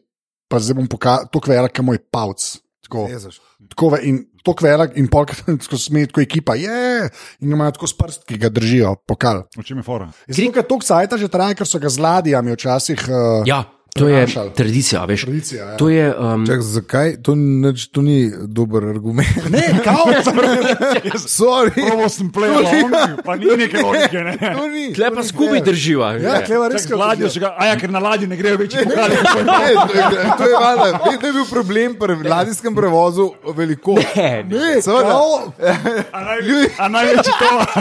A: pa zdaj bom pokal, to kvera, ki je moj pavc. Tako.
C: Jezus.
A: Tako ve- in to kvelak, in polk, tako smeji, tako ekipa je, in ga imajo tako s prst, ki ga držijo, pokal.
D: V čem je fora?
A: Zdaj, ker to cajta že traja, ker so ga z ladijami včasih. Uh,
B: Ja, to je
A: Prenašali.
B: tradicija, veš.
A: Tradicija, ja.
B: To je. Um,
C: Čak, zakaj? To, nič, to ni dober argument.
A: Ne, kao,
C: Sorry,
D: Prvo sem plejal, ja. pa ni neke logike. Ne?
C: to ni.
B: Tle pa skupaj drživa.
A: ja,
B: že.
A: kleva
D: Čak,
A: res
D: z Ladjo še ga, a ja, ker na ladji ne grejo več pokali.
C: Ne, to je- to je valjda. Veš, da je bil problem pri ladijskem prevozu veliko.
B: Ne, ne.
C: Seveda. Ja,
D: A naj- a največji tovor, a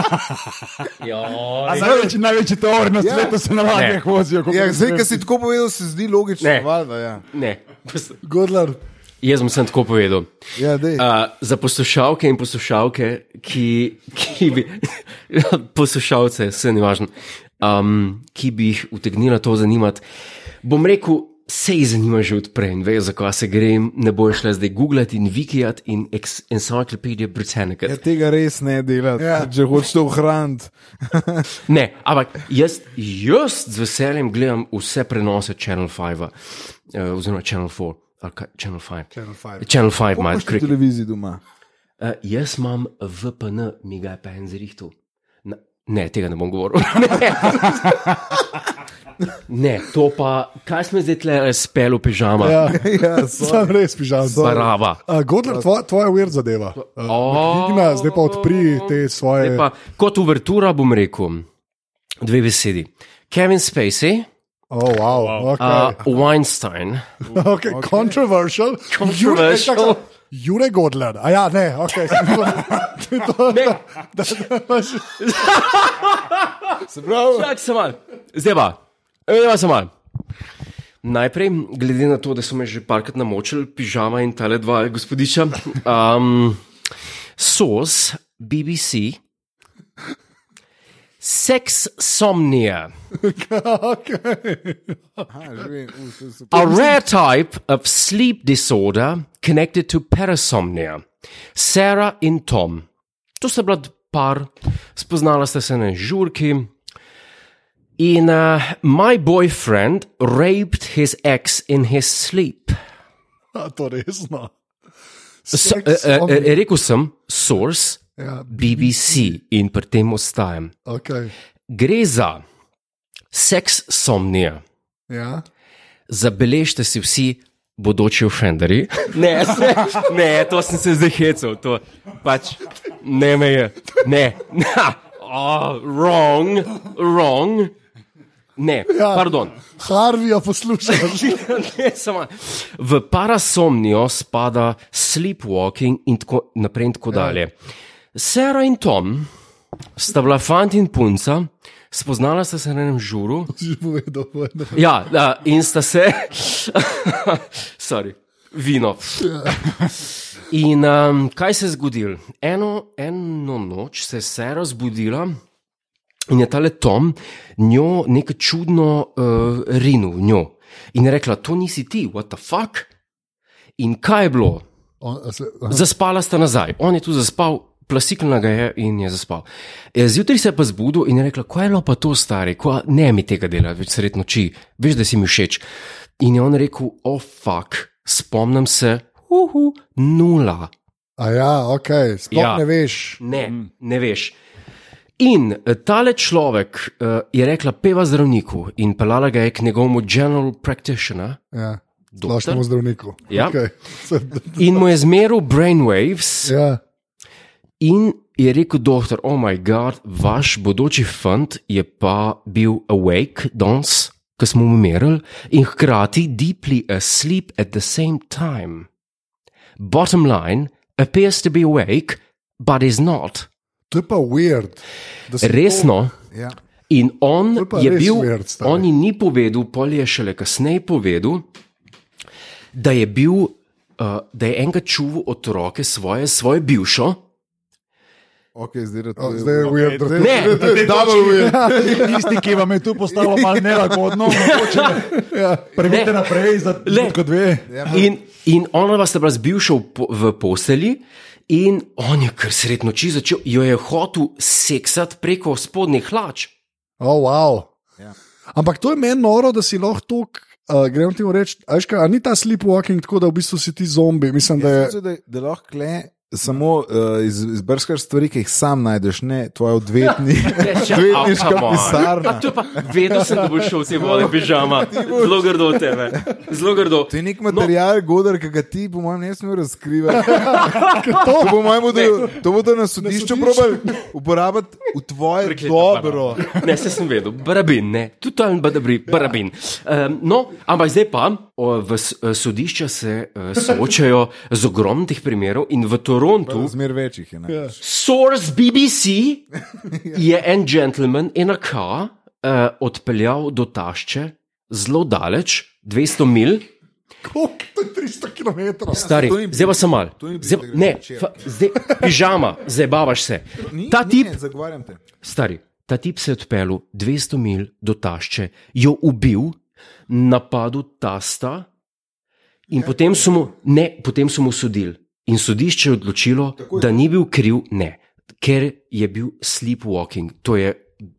B: Joj.
D: največji, največji tovor na svetu se na ladjah vozijo. kot
C: Ja,
D: pri
C: zdaj,
D: nas.
C: ki si tako povedal, se zdi logično.
B: Ne.
C: Valjda, ja.
B: Ne.
A: Godler.
B: Jaz sem samo tako povedal.
C: Ja, dej.
B: Uh, za poslušalke in poslušalke, ki, ki bi, poslušalce, se ne važno, um, ki bi jih utegnila to zanimati, bom rekel, se jih zanima že odprej in vejo, zakaj se gre, ne bojo šle zdaj googlati in vikijati in ex- Encyclopedia Britannica.
C: Ja, tega res ne delati,
A: Ja.
C: ja. če hočeš to ohraniti.
B: Ne, ampak jaz, jaz z veseljem gledam vse prenose Channel 5, uh, oziroma Channel 4, ali kaj, Channel 5.
A: Channel 5.
B: Channel 5 ima
C: Imaš na
B: krik.
C: televiziji doma.
B: Uh, jaz imam VPN, mi ga je pa en zrihtel. Na- Ne, tega ne bom govoril. ne. ne, to pa, kaj smo zdaj tle eh, spelo pižama, ja,
A: Ja,
C: Ja, sorry.
A: sam res pižam.
B: barava.
A: Uh, Godler, tvoja, tvoja weird zadeva. Uh,
B: O.
A: Digna, zdaj pa odpri te svoje.
B: Zdaj Pa, kot uvertura bom rekel dve besedi. Kevin Spacey,
A: Oh, wow. wow. Okay.
B: uh, Weinstein,
A: Okay, okay. Controversial.
B: Controversial.
A: Jure, čakaj, Jure Godler. A ja, ne, ok. To, to,
B: Ne.
A: da, da, da, imaš-
C: Se pravi,
B: Čak se mal, zdaj pa, zdaj se mal. Najprej, glede na to, da so me že parkrat namočili, pižama in tale dva gospodiča, um, SOS, BBC, Sex Somnia,
A: okay.
C: aha, že vem, u, to je super.
B: a rare type of sleep disorder connected to parasomnia, Sarah in Tom. To sta bila par, spoznala sta se na žurki. In uh, my boyfriend raped his ex in his sleep.
A: A, to no. resno.
B: So,
A: Sex,
B: uh, uh,
A: on-
B: rekel sem, source,
A: Ja,
B: BBC in pri tem ostajam.
A: okay.
B: Gre za seks somnija.
A: ja.
B: Zabeležite si vsi bodoči ofenderji. Ne, se, ne, to sem se zdaj hecel, to pač ne me je. Ne, na, oh, wrong, wrong. Ne,
A: Ja.
B: pardon.
A: Harvija poslušaš.
B: ne, samo. V parasomnijo spada sleepwalking in tako naprej in tako dalje. Sara in Tom sta bila fant in punca, spoznala sta se na enem žuru.
A: Že povedal, povedal.
B: Ja, da, in sta se, sorry, vino. In um, kaj se je zgodilo? Eno, eno noč se je Sara zbudila in je tale Tom njo nekaj čudno uh, rinil, v njo. In je rekla, to nisi ti, what the fuck. In kaj je bilo?
A: On, a se, aha.
B: Zaspala sta nazaj, on je tu zaspal, plasikla ga je in je zaspal. E, Zjutraj se je pa zbudil in je rekla: Kaj je bilo pa to, stari, Kva, ne mi tega dela, več sred noči, veš, da si mi všeč. In je on rekel: O, oh, fuck, spomnim se, uhu, nula.
A: A ja, ok, sploh
B: Ja.
A: ja. ne veš.
B: Ne, ne veš. In eh, tale človek uh, je rekla: Peva zdravniku in pelala ga je k njegovemu general practitioner.
A: Ja.
B: Doktor?
A: Splošnemu zdravniku.
B: Ja.
A: Okay. Se,
B: In mu je zmeril brainwaves,
A: ja.
B: In je rekel, doktor, oh moj bog, vaš bodoči fant je pa bil awake danes, ko smo umirali, in hkrati deeply asleep at the same time. Bottom line, appears to be awake, but is not.
A: To je pa weird. da si
B: Resno.
C: Ja.
B: In on
A: To je pa
B: je
A: res
B: bil,
A: weird, stari.
B: on ji ni povedal, pol je šele kasneje povedal, da je bil, uh, da je enkrat čuval otroke svoje, svoje bivšo.
C: Okay, zdaj je
A: To,
C: to
A: zdaj je weird.
C: to
B: Ne.
A: to je double weird.
D: Tisti, ki vam je tu postalo malo nelagodno, mogoče,
B: Ne.
D: prebite naprej za
B: Le.
D: kot dve.
B: In, in ona vas je bila zbivša v, po- v postelji, in on je kar sred noči začel, jo je hotel seksati preko spodnjih hlač.
A: Oh, wow.
C: Ja.
A: Ampak to je meni noro, da si lahko tako Uh, gremo ti reči, ajška, a ni ta sleepwalking tako, da v bistvu si ti zombi. Mislim, da je.
C: Jaz mislim, da, da lahko le samo uh, iz, izbrskaš stvari, ki jih sam najdeš, ne tvoje odvetni, odvetniška pisarna.
B: Ja, To je pa vedno sem, da boš šel vsi voli pižama. Zelo grdo od tebe. Zelo grdo.
C: To je nek material, no. Godar, ki ga ti, po mojem, ne smeš razkrivati. to, po mojem, bodo, to bodo na sodišču
A: sodišču.
C: probali uporabiti v tvoje
B: Prekleto
C: dobro.
B: banano. Ne, se sem vedel, barabin, ne, totalen badabri, barabin. Um, no, ampak zdaj pa o, v s- eh, sodišča se uh, soočajo z ogromnih primerov in v Torontu
C: Zmer večjih je. Ne?
B: Source BBC je en gentleman in a car uh, odpeljal do tašče zelo daleč, 200 mil,
A: Koliko? To je 300 km.
B: stari,
C: to ni-
B: zdaj pa sem mal.
C: to ni
B: Zdaj, pa-
C: bilo
B: ne,
C: včeraj.
B: fa, zdaj, pižama, zdaj bavaš se.
C: Ni,
B: Ta
C: ni,
B: tip,
C: Ne, zagovarjam te.
B: stari, ta tip se je odpeljal 200 mil do tašče, jo ubil, napadel tasta in potem so mu, ne, potem so mu sodili. In sodišče je odločilo, da ni bil kriv, ne, ker je bil sleepwalking, to je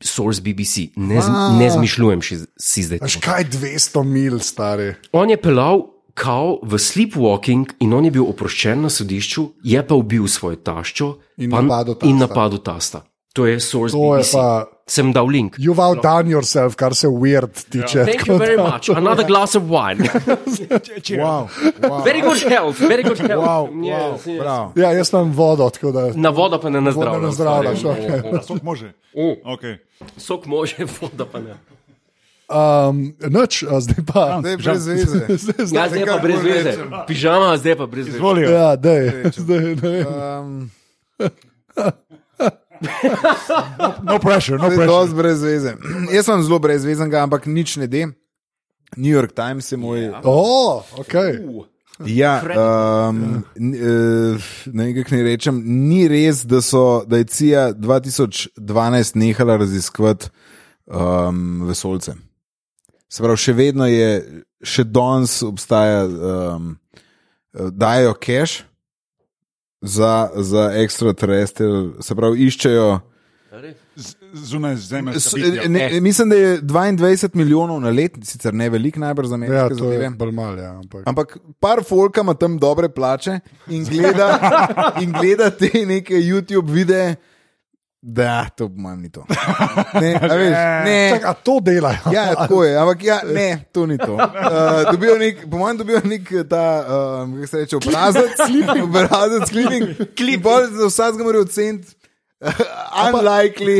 B: source BBC, ne, z, ne zmišljujem še z- si zdaj.
A: Až kaj 200 mil, stari.
B: On je pelal kao v sleepwalking in on je bil oproščen na sodišču, je pa ubil svojo taščo
A: In
B: pa-
A: napadel tasta.
B: in napadel tasta. To je source
A: To je
B: BBC.
A: pa.
B: Sem dal link.
A: You've outdone yourself, kar se weird tiče.
B: Thank
A: tako
B: you very
A: da-
B: much. Another glass of wine.
C: Wow, wow,
B: Very good health, very good health.
C: wow,
B: Yes,
C: wow,
B: yes.
C: bravo.
A: Ja, jaz imam vodo, tako da.
B: Na vodo pa ne nazdravljam.
A: ne nazdravljaš,
B: stari.
A: okej.
B: O, o,
D: Sok može.
B: o, o,
D: Okay.
B: Sok može, voda pa ne.
A: Um, noč, a zdaj pa.
C: Zdaj brez veze.
A: Ja, Zdaj,
C: Um,
A: zdaj,
B: Ja, zdaj pa
C: kar
B: brez
C: bolj
B: veze.
C: rečem.
B: Pižama, zdaj pa brez veze.
D: Izvolijo.
A: ja, dej, zdaj, ne vem.
C: Um,
D: No pressure, no
C: To je
D: pressure.
C: dosti brez veze. Jaz sem zelo brezvezenega, ampak nič ne de. New York Times je moj. Ja,
A: O, ok.
B: U,
C: ja
B: Fred-
C: um, ne vem, kako naj rečem. Ni res, da, so, da je CIA 2012 nehala raziskovati um, vesolce. Se pravi, še vedno je, še danes obstaja, um, dajo cache za, za extraterrestrial, se pravi, iščejo.
D: Z- Zunaj zemlje.
C: S- Ne, mislim, da je 22 milijonov na let, sicer ne veliko, najbrž za ameriške
A: Ja,
C: ja,
A: to je
C: zadeve.
A: bolj malo, ja, ampak.
C: Ampak par folka ima tam dobre plače in gleda, in gleda te neke YouTube videe, da to po mojem ni to. Ne, a veš, ne.
A: Čak, a to delajo?
C: Ja, tako je, ampak ja, ne, to ni to. Uh, dobijo nek, po mojem, dobijo nek ta, um, kako se reče, obrazec, obrazec, kliping. Klip. Za vsakega morajo oceniti. uh, Unlikely,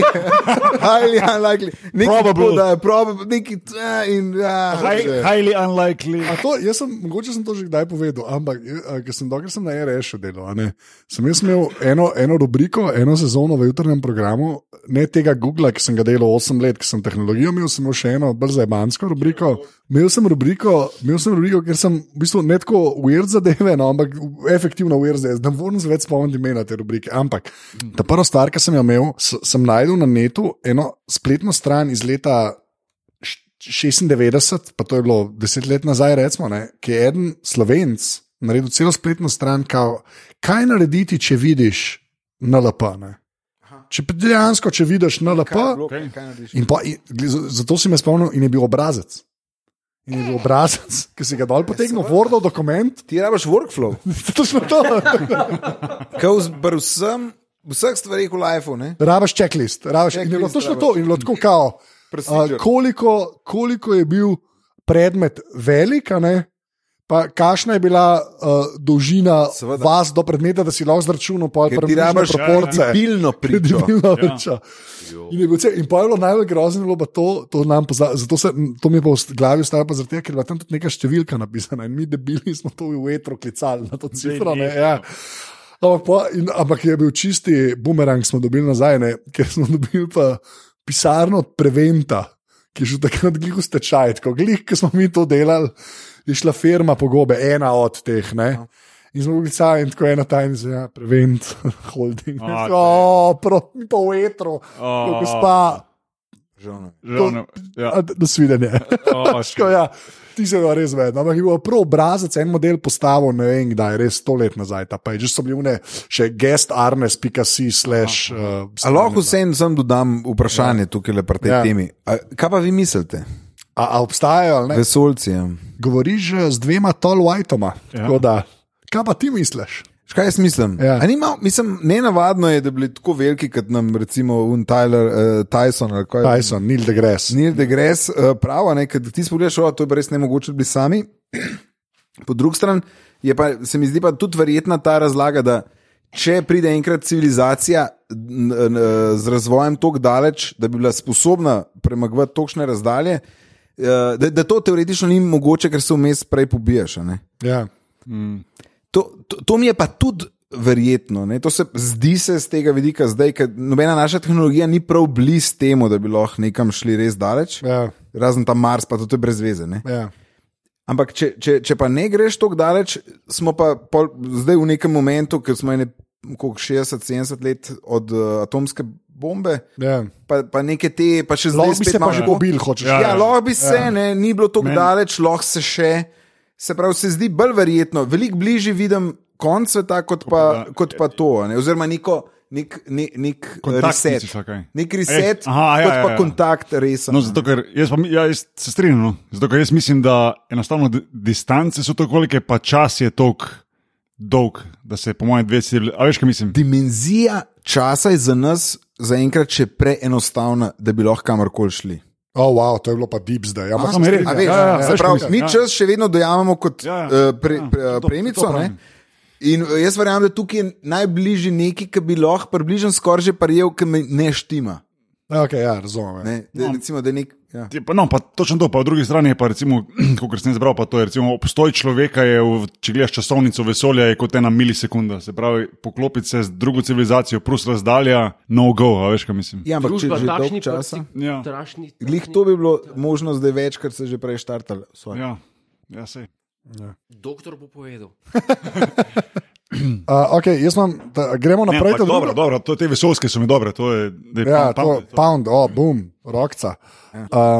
C: highly unlikely, nekaj
D: Probable.
C: da je probable, nekaj uh, in ja,
D: High, highly unlikely.
A: A To, jaz sem, mogoče sem to že kdaj povedal, ampak eh, a, ker sem dokler sem na RS-u delal, a ne, sem jaz imel eno, eno rubriko, eno sezono v jutrnem programu, ne tega Google, ki sem ga delal 8 let, ki sem tehnologijo imel, sem imel še eno bolj zajbansko rubriko. Imel sem rubriko, imel sem rubriko, ker sem v bistvu ne tako weird zadeve, no, ampak efektivno weird zadeve. Ne morem se več spomniti imena te rubrike. Ampak ta prva stvar, ki sem jo imel, s- sem najdel na netu eno spletno stran iz leta 96, pa to je bilo deset let nazaj, recimo, ne, ki je en slovenc naredil celo spletno stran, kao, kaj narediti, če vidiš NLP. Ne? Če pa dejansko, če vidiš NLP, in pa, in, gli- z- zato si me spomnil, in je bil obrazec. In je bil obrazec, ki si ga dol potegnil, vrnil dokument,
C: Ti rabiš workflow,
A: točno to.
C: kot pri vsem, vseh stvarih v lifeu. ne.
A: Rabaš checklist, rabaš checklist in je bilo
C: Checklist
A: točno
C: rabiš.
A: to, in je bilo tako kao.
C: Procedure.
A: a, koliko, koliko je bil predmet velik, a ne? pa kakšna je bila uh, dolžina
C: Seveda.
A: Seveda. vas do predmeta, da si lahko zračunal, pa je
C: Ker ti rabiš
A: proporce.
C: Pilno pričo. Ja.
A: Kredibilna priča. In je bilo vse, in pa je bilo najbolj grozno, je bilo pa to, to nam pozna, zato se, to mi je pa v st- glavi ostalo, pa zaradi tega, ker je bila tam tudi neka številka napisana in mi debili smo to v vetru klicali na to cifro. Ne, ja. ampak, pa, in, ampak je bil čisti bumerang, smo dobili nazaj, ne, ker smo dobili pa pisarno od Preventa, ki je že takrat glih v stečaj, tako glih, ki smo mi to delali, je šla firma pogobe, ena od teh. Ne,
D: Ja.
A: In smo bili sami, in tako ena tajnica, ja, prevent, holding.
D: A,
A: Oh, O, pro- mi pa v etru,
D: O.
A: oh. gospa,
C: Žal ne.
D: Žal, ja.
A: a, nasvidenje.
D: O,
A: Tako, ja, ti se ga res vedno. Ampak je bil prav obrazec, en model postavil, ne vem kdaj, res sto let nazaj. Ta page so bili vne, še guest arnes.si slash. Uh,
C: A lahko vsem sem dodam vprašanje ja. tukaj le pri tej ja.
A: Ja.
C: temi. A, kaj pa vi mislite?
A: A, a obstajajo, ali ne?
C: Vesolci. Ja.
A: Govoriš eh, z dvema tall whiteoma. Ja. Kaj pa ti misliš?
C: Škaj jaz mislim?
A: Ja.
C: Ja. Nima, mislim ne navadno je, da bi bili tako veliki, kot nam recimo un Tyler, uh, Tyson ali kaj.
A: Tyson, Neil deGrasse.
C: Neil deGrasse uh, pravi, ne, ker ti spogledaš, o, to je pa res ne mogoče biti sami. Po drugi strani je pa, se mi zdi pa tudi verjetna ta razlaga, da če pride enkrat civilizacija n, n, z razvojem tako daleč, da bi bila sposobna premagovati točne razdalje, eh, da, da to teoretično ni mogoče, ker se vmes prej pobiješ. a ne.
A: Ja.
C: To, to, to mi je pa tudi verjetno, ne? to se zdi se z tega vidika zdaj, ker nobena naša tehnologija ni prav blizu temu, da bi lahko nekam šli res daleč.
A: Ja,
C: Razen ta Mars, pa tudi to je brez veze. Ne?
A: ja.
C: Ampak, če, če, če pa ne greš tako daleč, smo pa pol, zdaj v nekem momentu, ker smo ene, koliko, 60, 70 let od uh, atomske bombe,
A: ja.
C: pa, pa neke te, pa še zdaj
A: Lahko bi
C: spet
A: se pa
C: imamo
A: že
C: tako-
A: pobil, hočeš.
D: Ja,
C: Ja, lahko bi se,
A: Ja.
C: ja. ne, ni bilo tako
D: Meni-
C: daleč, lahko se še. Se pravi, se zdi bolj verjetno, veliko bližje vidim konc sveta, kot pa,
D: da-
C: kot pa to. a Ne? Oziroma, neko, nek, ne, nek
D: Kontakt
C: reset.
D: misliš, ali kaj?
C: Nek reset,
D: Eh, aha, ja,
C: kot
D: ja,
C: pa
D: ja.
C: kontakt, res.
D: No, zato, ker jaz, pa, mi- ja, jaz se strinjam. No. Zato, ker jaz mislim, da enostavno di- distance so tako velike, pa čas je tako dolg, da se po mojem dve cilji. A veš, kaj mislim?
C: dimenzija časa je za nas zaenkrat še preenostavna, da bi lahko kamorkoli šli.
A: Oh, wow, to je bilo pa deep zdaj. Ja, ma
D: A,
A: se
D: me res,
A: strinjam.
C: A
D: Ja,
C: Veš,
D: ja, ja,
C: se
D: veš, kaj
C: pravi,
D: mislim,
C: mi
D: ja.
C: čas še vedno dojamemo kot
D: Ja, ja,
C: eh, pre-
D: ja,
C: pre- eh,
D: to- to
C: premico.
D: pravim.
C: ne. In eh, jaz verjamem, da tukaj je najbližji neki, ki bi lahko približno skoraj že parjel, ki me ne štima.
A: Ja, okay, ja, razumem. ja.
C: Ne? Da, recimo, da je nek, ja.
D: Je Pa, no, pa točno to, pa po drugi strani je pa, kot sem zbral, pa to je recimo, obstoj človeka, je, v- če gledaš časovnico vesolja, je kot ena milisekunda. Se pravi, poklopiti se z drugo civilizacijo, plus razdalja, no go, a veš, kaj mislim.
C: ja, ampak če
B: Družba
C: je že
B: takšni
C: dolgo časa.
D: Ja.
B: Trašni,
C: Glih to bi bilo možno zdaj več, ker se že prej štartali. sorry.
D: Ja, ja sej.
B: Doktor bo povedal.
A: Uh, okay, jaz imam, No, da, gremo
D: Ne,
A: naprej.
D: ampak
A: ta
D: dobro,
A: druga-
D: dobro, to, te vesolske so mi dobre, to je, da je
A: Ja,
D: pam- pam-
A: to, Ja. pound, oh, boom, rokca.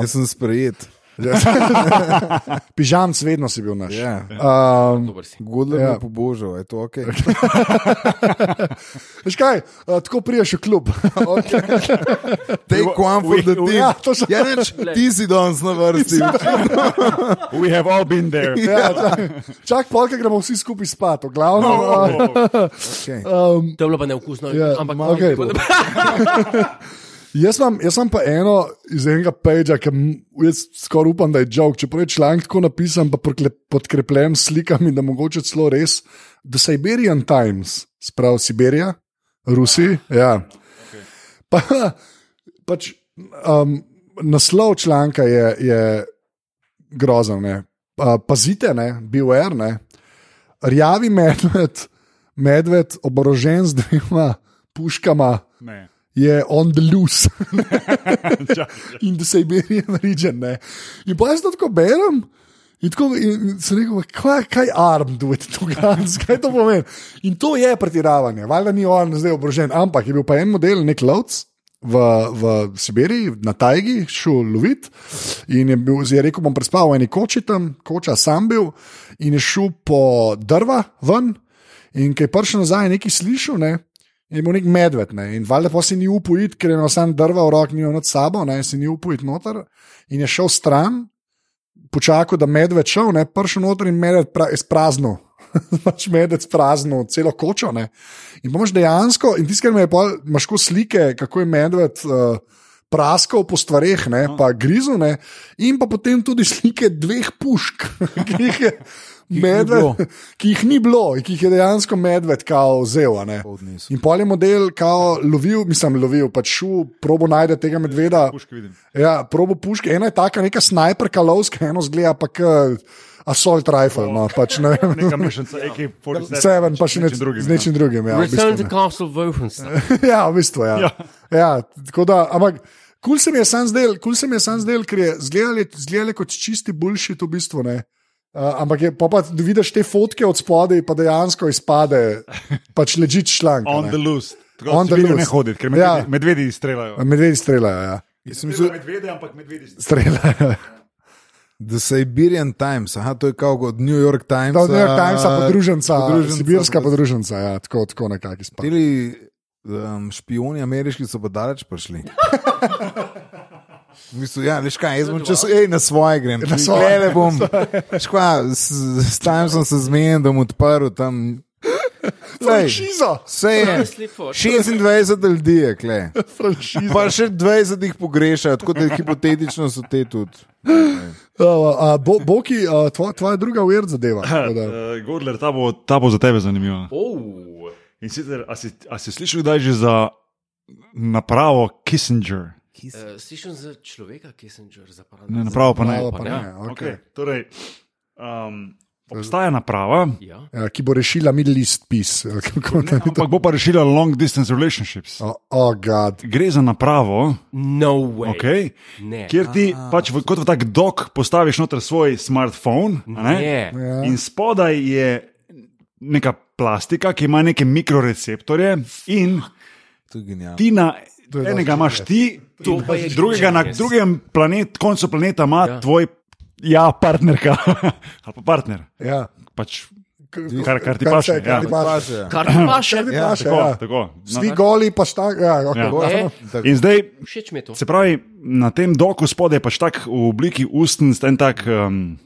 C: Jaz sem sprejet.
A: Pižamc, vedno Uh, si bil naš.
C: Ja.
A: Um,
B: Dober si.
C: Godler
A: Ja.
C: ja. me je pobožal, je to ok.
A: veš kaj, uh, tako priješ v klub.
C: Take one for the team.
A: Ja, to so-
C: Ja, neč, ti si danes na vrsti.
D: We have all been there.
A: ja, čak, čak polka gremo vsi skupaj spat, v glavnem. Uh,
C: Okay.
B: To je bilo pa neukusno,
A: Ja,
B: ampak
A: ma- okej. Jaz imam, jaz imam pa eno iz enega peča, ki m- jaz skoraj upam, da je žog. Čeprav je članek tako napisan, pa prikle- podkrepljen s slikami, da mogoče celo res. The Siberian Times, sprav Siberija, Rusi. Ja. Pa, pač, um, naslov članka je, je grozen. ne. Pa- Pazite, ne, beware, ne. Rjavi medved, medved oborožen z dvema puškama
D: Ne.
A: je on the loose
D: Čakaj,
A: in the Siberian region. Ne. In pa jaz to tako berem. In tako in sem rekel, kaj, kaj je armed with two guns, kaj to pomeni. In to je pretiravanje, valjda ni on zdaj obrožen, ampak je bil pa en model, nek lovc v, v Sibiriji, na Tajgi, šel lovit in je, bil, je rekel, bom prespal v eni koči tam, koča sam bil in je šel po drva ven in ki je prišel nazaj, je nekaj slišal, ne, je bil nek medved. Ne, in valjda pa se ni upal iti, ker je imel sam drva v roki, ni imel nad sabo, ne, se ni upal iti noter in je šel stran počakal, da medved šel, ne, pršel noter in medved pra, sprazno. pač medved sprazno, celo kočo. Ne. In pomaš dejansko, in tiskaj me je pa, imaš ko slike, kako je medved. Uh, Praskal po stvareh, ne, pa grizu, ne, in pa potem tudi slike dveh pušk, ki jih je medved, ki jih ni bilo, in ki jih je dejansko medved kao vzel. a ne. In pol je model kao lovil, mislim, lovil, pač šel, probo najde tega medveda.
D: Puške vidim.
A: Ja, probo puške, ena je taka, neka snajperka, lovska, eno zgleda pa k assault rifle. No, pač ne vem.
D: Neka mešanica, AK-47.
A: Ja. Seven, pa še nečim drugim.
D: drugim,
A: Z nečim drugim, ja. V
B: Return
A: bistvu,
B: to
A: ne.
B: Castle Wolfenstein.
A: ja, v bistvu, ja. ja.
D: Ja.
A: ja tako da, ampak kul cool se mi je sam zdel, kul cool se mi je sam zdel, ker je zgledali, zgledali kot čisti boljši, to v bistvu ne. Uh, ampak je, pa, pa vidiš te fotke od spodaj, pa dejansko izpade, pač leži članek.
D: On the
A: a ne.
D: loose. Tako
A: On
D: On
A: the
D: the loose. Ne
A: loose.
D: hoditi,
A: Ja.
D: ker medvedi, ja. medvedi streljajo.
A: Medvedi streljajo, ja.
D: Mislim, medvede, ampak medvedi streljajo.
A: streljajo.
C: The Siberian Times, aha, to je kot od New York Times.
A: Da, od New York Timesa, podruženca, podruženca,
C: podruženca,
A: sibirska podruženca,
C: podruženca.
A: ja, tako, tako nekako izpade.
C: Tili um, špioni ameriški so pa daleč prišli. V bistvu, ja, veš kaj, jaz bom čez ej, na svoje grem. Na svoje le bom. Veš kaj, s, s tam sem se zmenil, da bom odprl tam. Sej,
A: Franšiza!
C: sej je. 26 ljudi je, kle.
A: Franšiza.
C: Pa še 20 jih pogrešajo, tako da hipotetično so te tudi.
A: Uh, a, bo, Boki, uh, tvoja, tvoja druga uvert zadeva. tako da.
D: Uh, Gordler, ta bo, ta bo za tebe zanimiva.
B: Oh.
D: In sicer, a si, a si slišal, da je že za napravo Kissinger?
B: Uh, slišim za človeka, ki sem že zapravil.
D: Ne, napravo pa ne.
A: Napravo pa ne, okej.
D: Okay. Torej, um, obstaja naprava,
B: Ja.
A: Ja, ki bo rešila Middle East peace. eh, kako
D: ne,
A: naj to-
D: ampak bo pa rešila long distance relationships.
A: O, o, gad.
D: Gre za napravo,
B: No way.
D: okay,
B: Ne.
D: kjer ti pač v, kot v tak dok postaviš noter svoj smartphone. a Ne?
B: Ne.
A: Ja.
D: In spodaj je neka plastika, ki ima neke mikroreceptorje, in
C: To je genialno.
D: ti na
A: To je dosti
D: enega imaš ti,
B: To
D: in
B: pa je
D: drugega na
B: genius.
D: drugem planet, koncu planeta ima
B: Ja.
D: ja. tvoj. Ja, partnerka ali pa partner.
A: Ja.
D: Pač,
A: K-
D: Kar- kar ti
A: se-
D: paše,
A: Kar ti
D: ja.
A: paše.
B: Kar ti paše.
A: Kar ti
C: Ja,
A: paše,
D: tako,
A: ja.
D: tako. No,
A: Svi goli, pa šta. Ja, okay, ja.
D: Ja.
B: Ne.
C: Tako.
D: in zdaj
B: Všeč mi je to.
D: Se pravi, na tem doku spodaj je pač tak v obliki ustnic, en tak, um,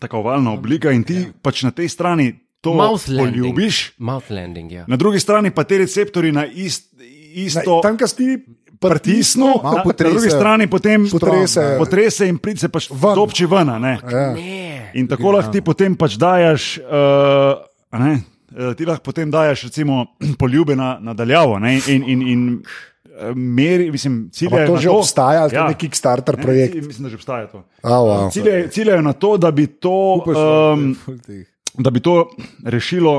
D: tako ovalna oblika in ti ja. pač na tej strani to
B: Mouth landing.
D: poljubiš,
B: Mouth landing, ja.
D: na drugi strani pa ti receptori na ist,
A: Na-
D: isto.
A: Tam, kjer ti
C: Malo
D: Pritisnu, na, na
C: potresejo.
D: drugi strani potem
A: Potresejo.
D: potrese in pride se pač
A: Ven.
D: dopči ven. a Ne?
A: Ja.
B: Ne.
D: In tako lahko ti potem pač dajaš, uh, ne, eh, ti lahko potem dajaš recimo poljube na, nadaljavo ne, in, in, in eh, meri, mislim, ciljajo
A: Ampak to
D: na
A: že
D: to. Ja.
A: obstaja, ali to je nek Kickstarter
D: Ne,
A: projekt?
D: cilj- Mislim, da že obstaja to.
A: A, wow.
D: Ciljajo, ciljajo na to, da bi to,
A: ja.
D: um, da bi to rešilo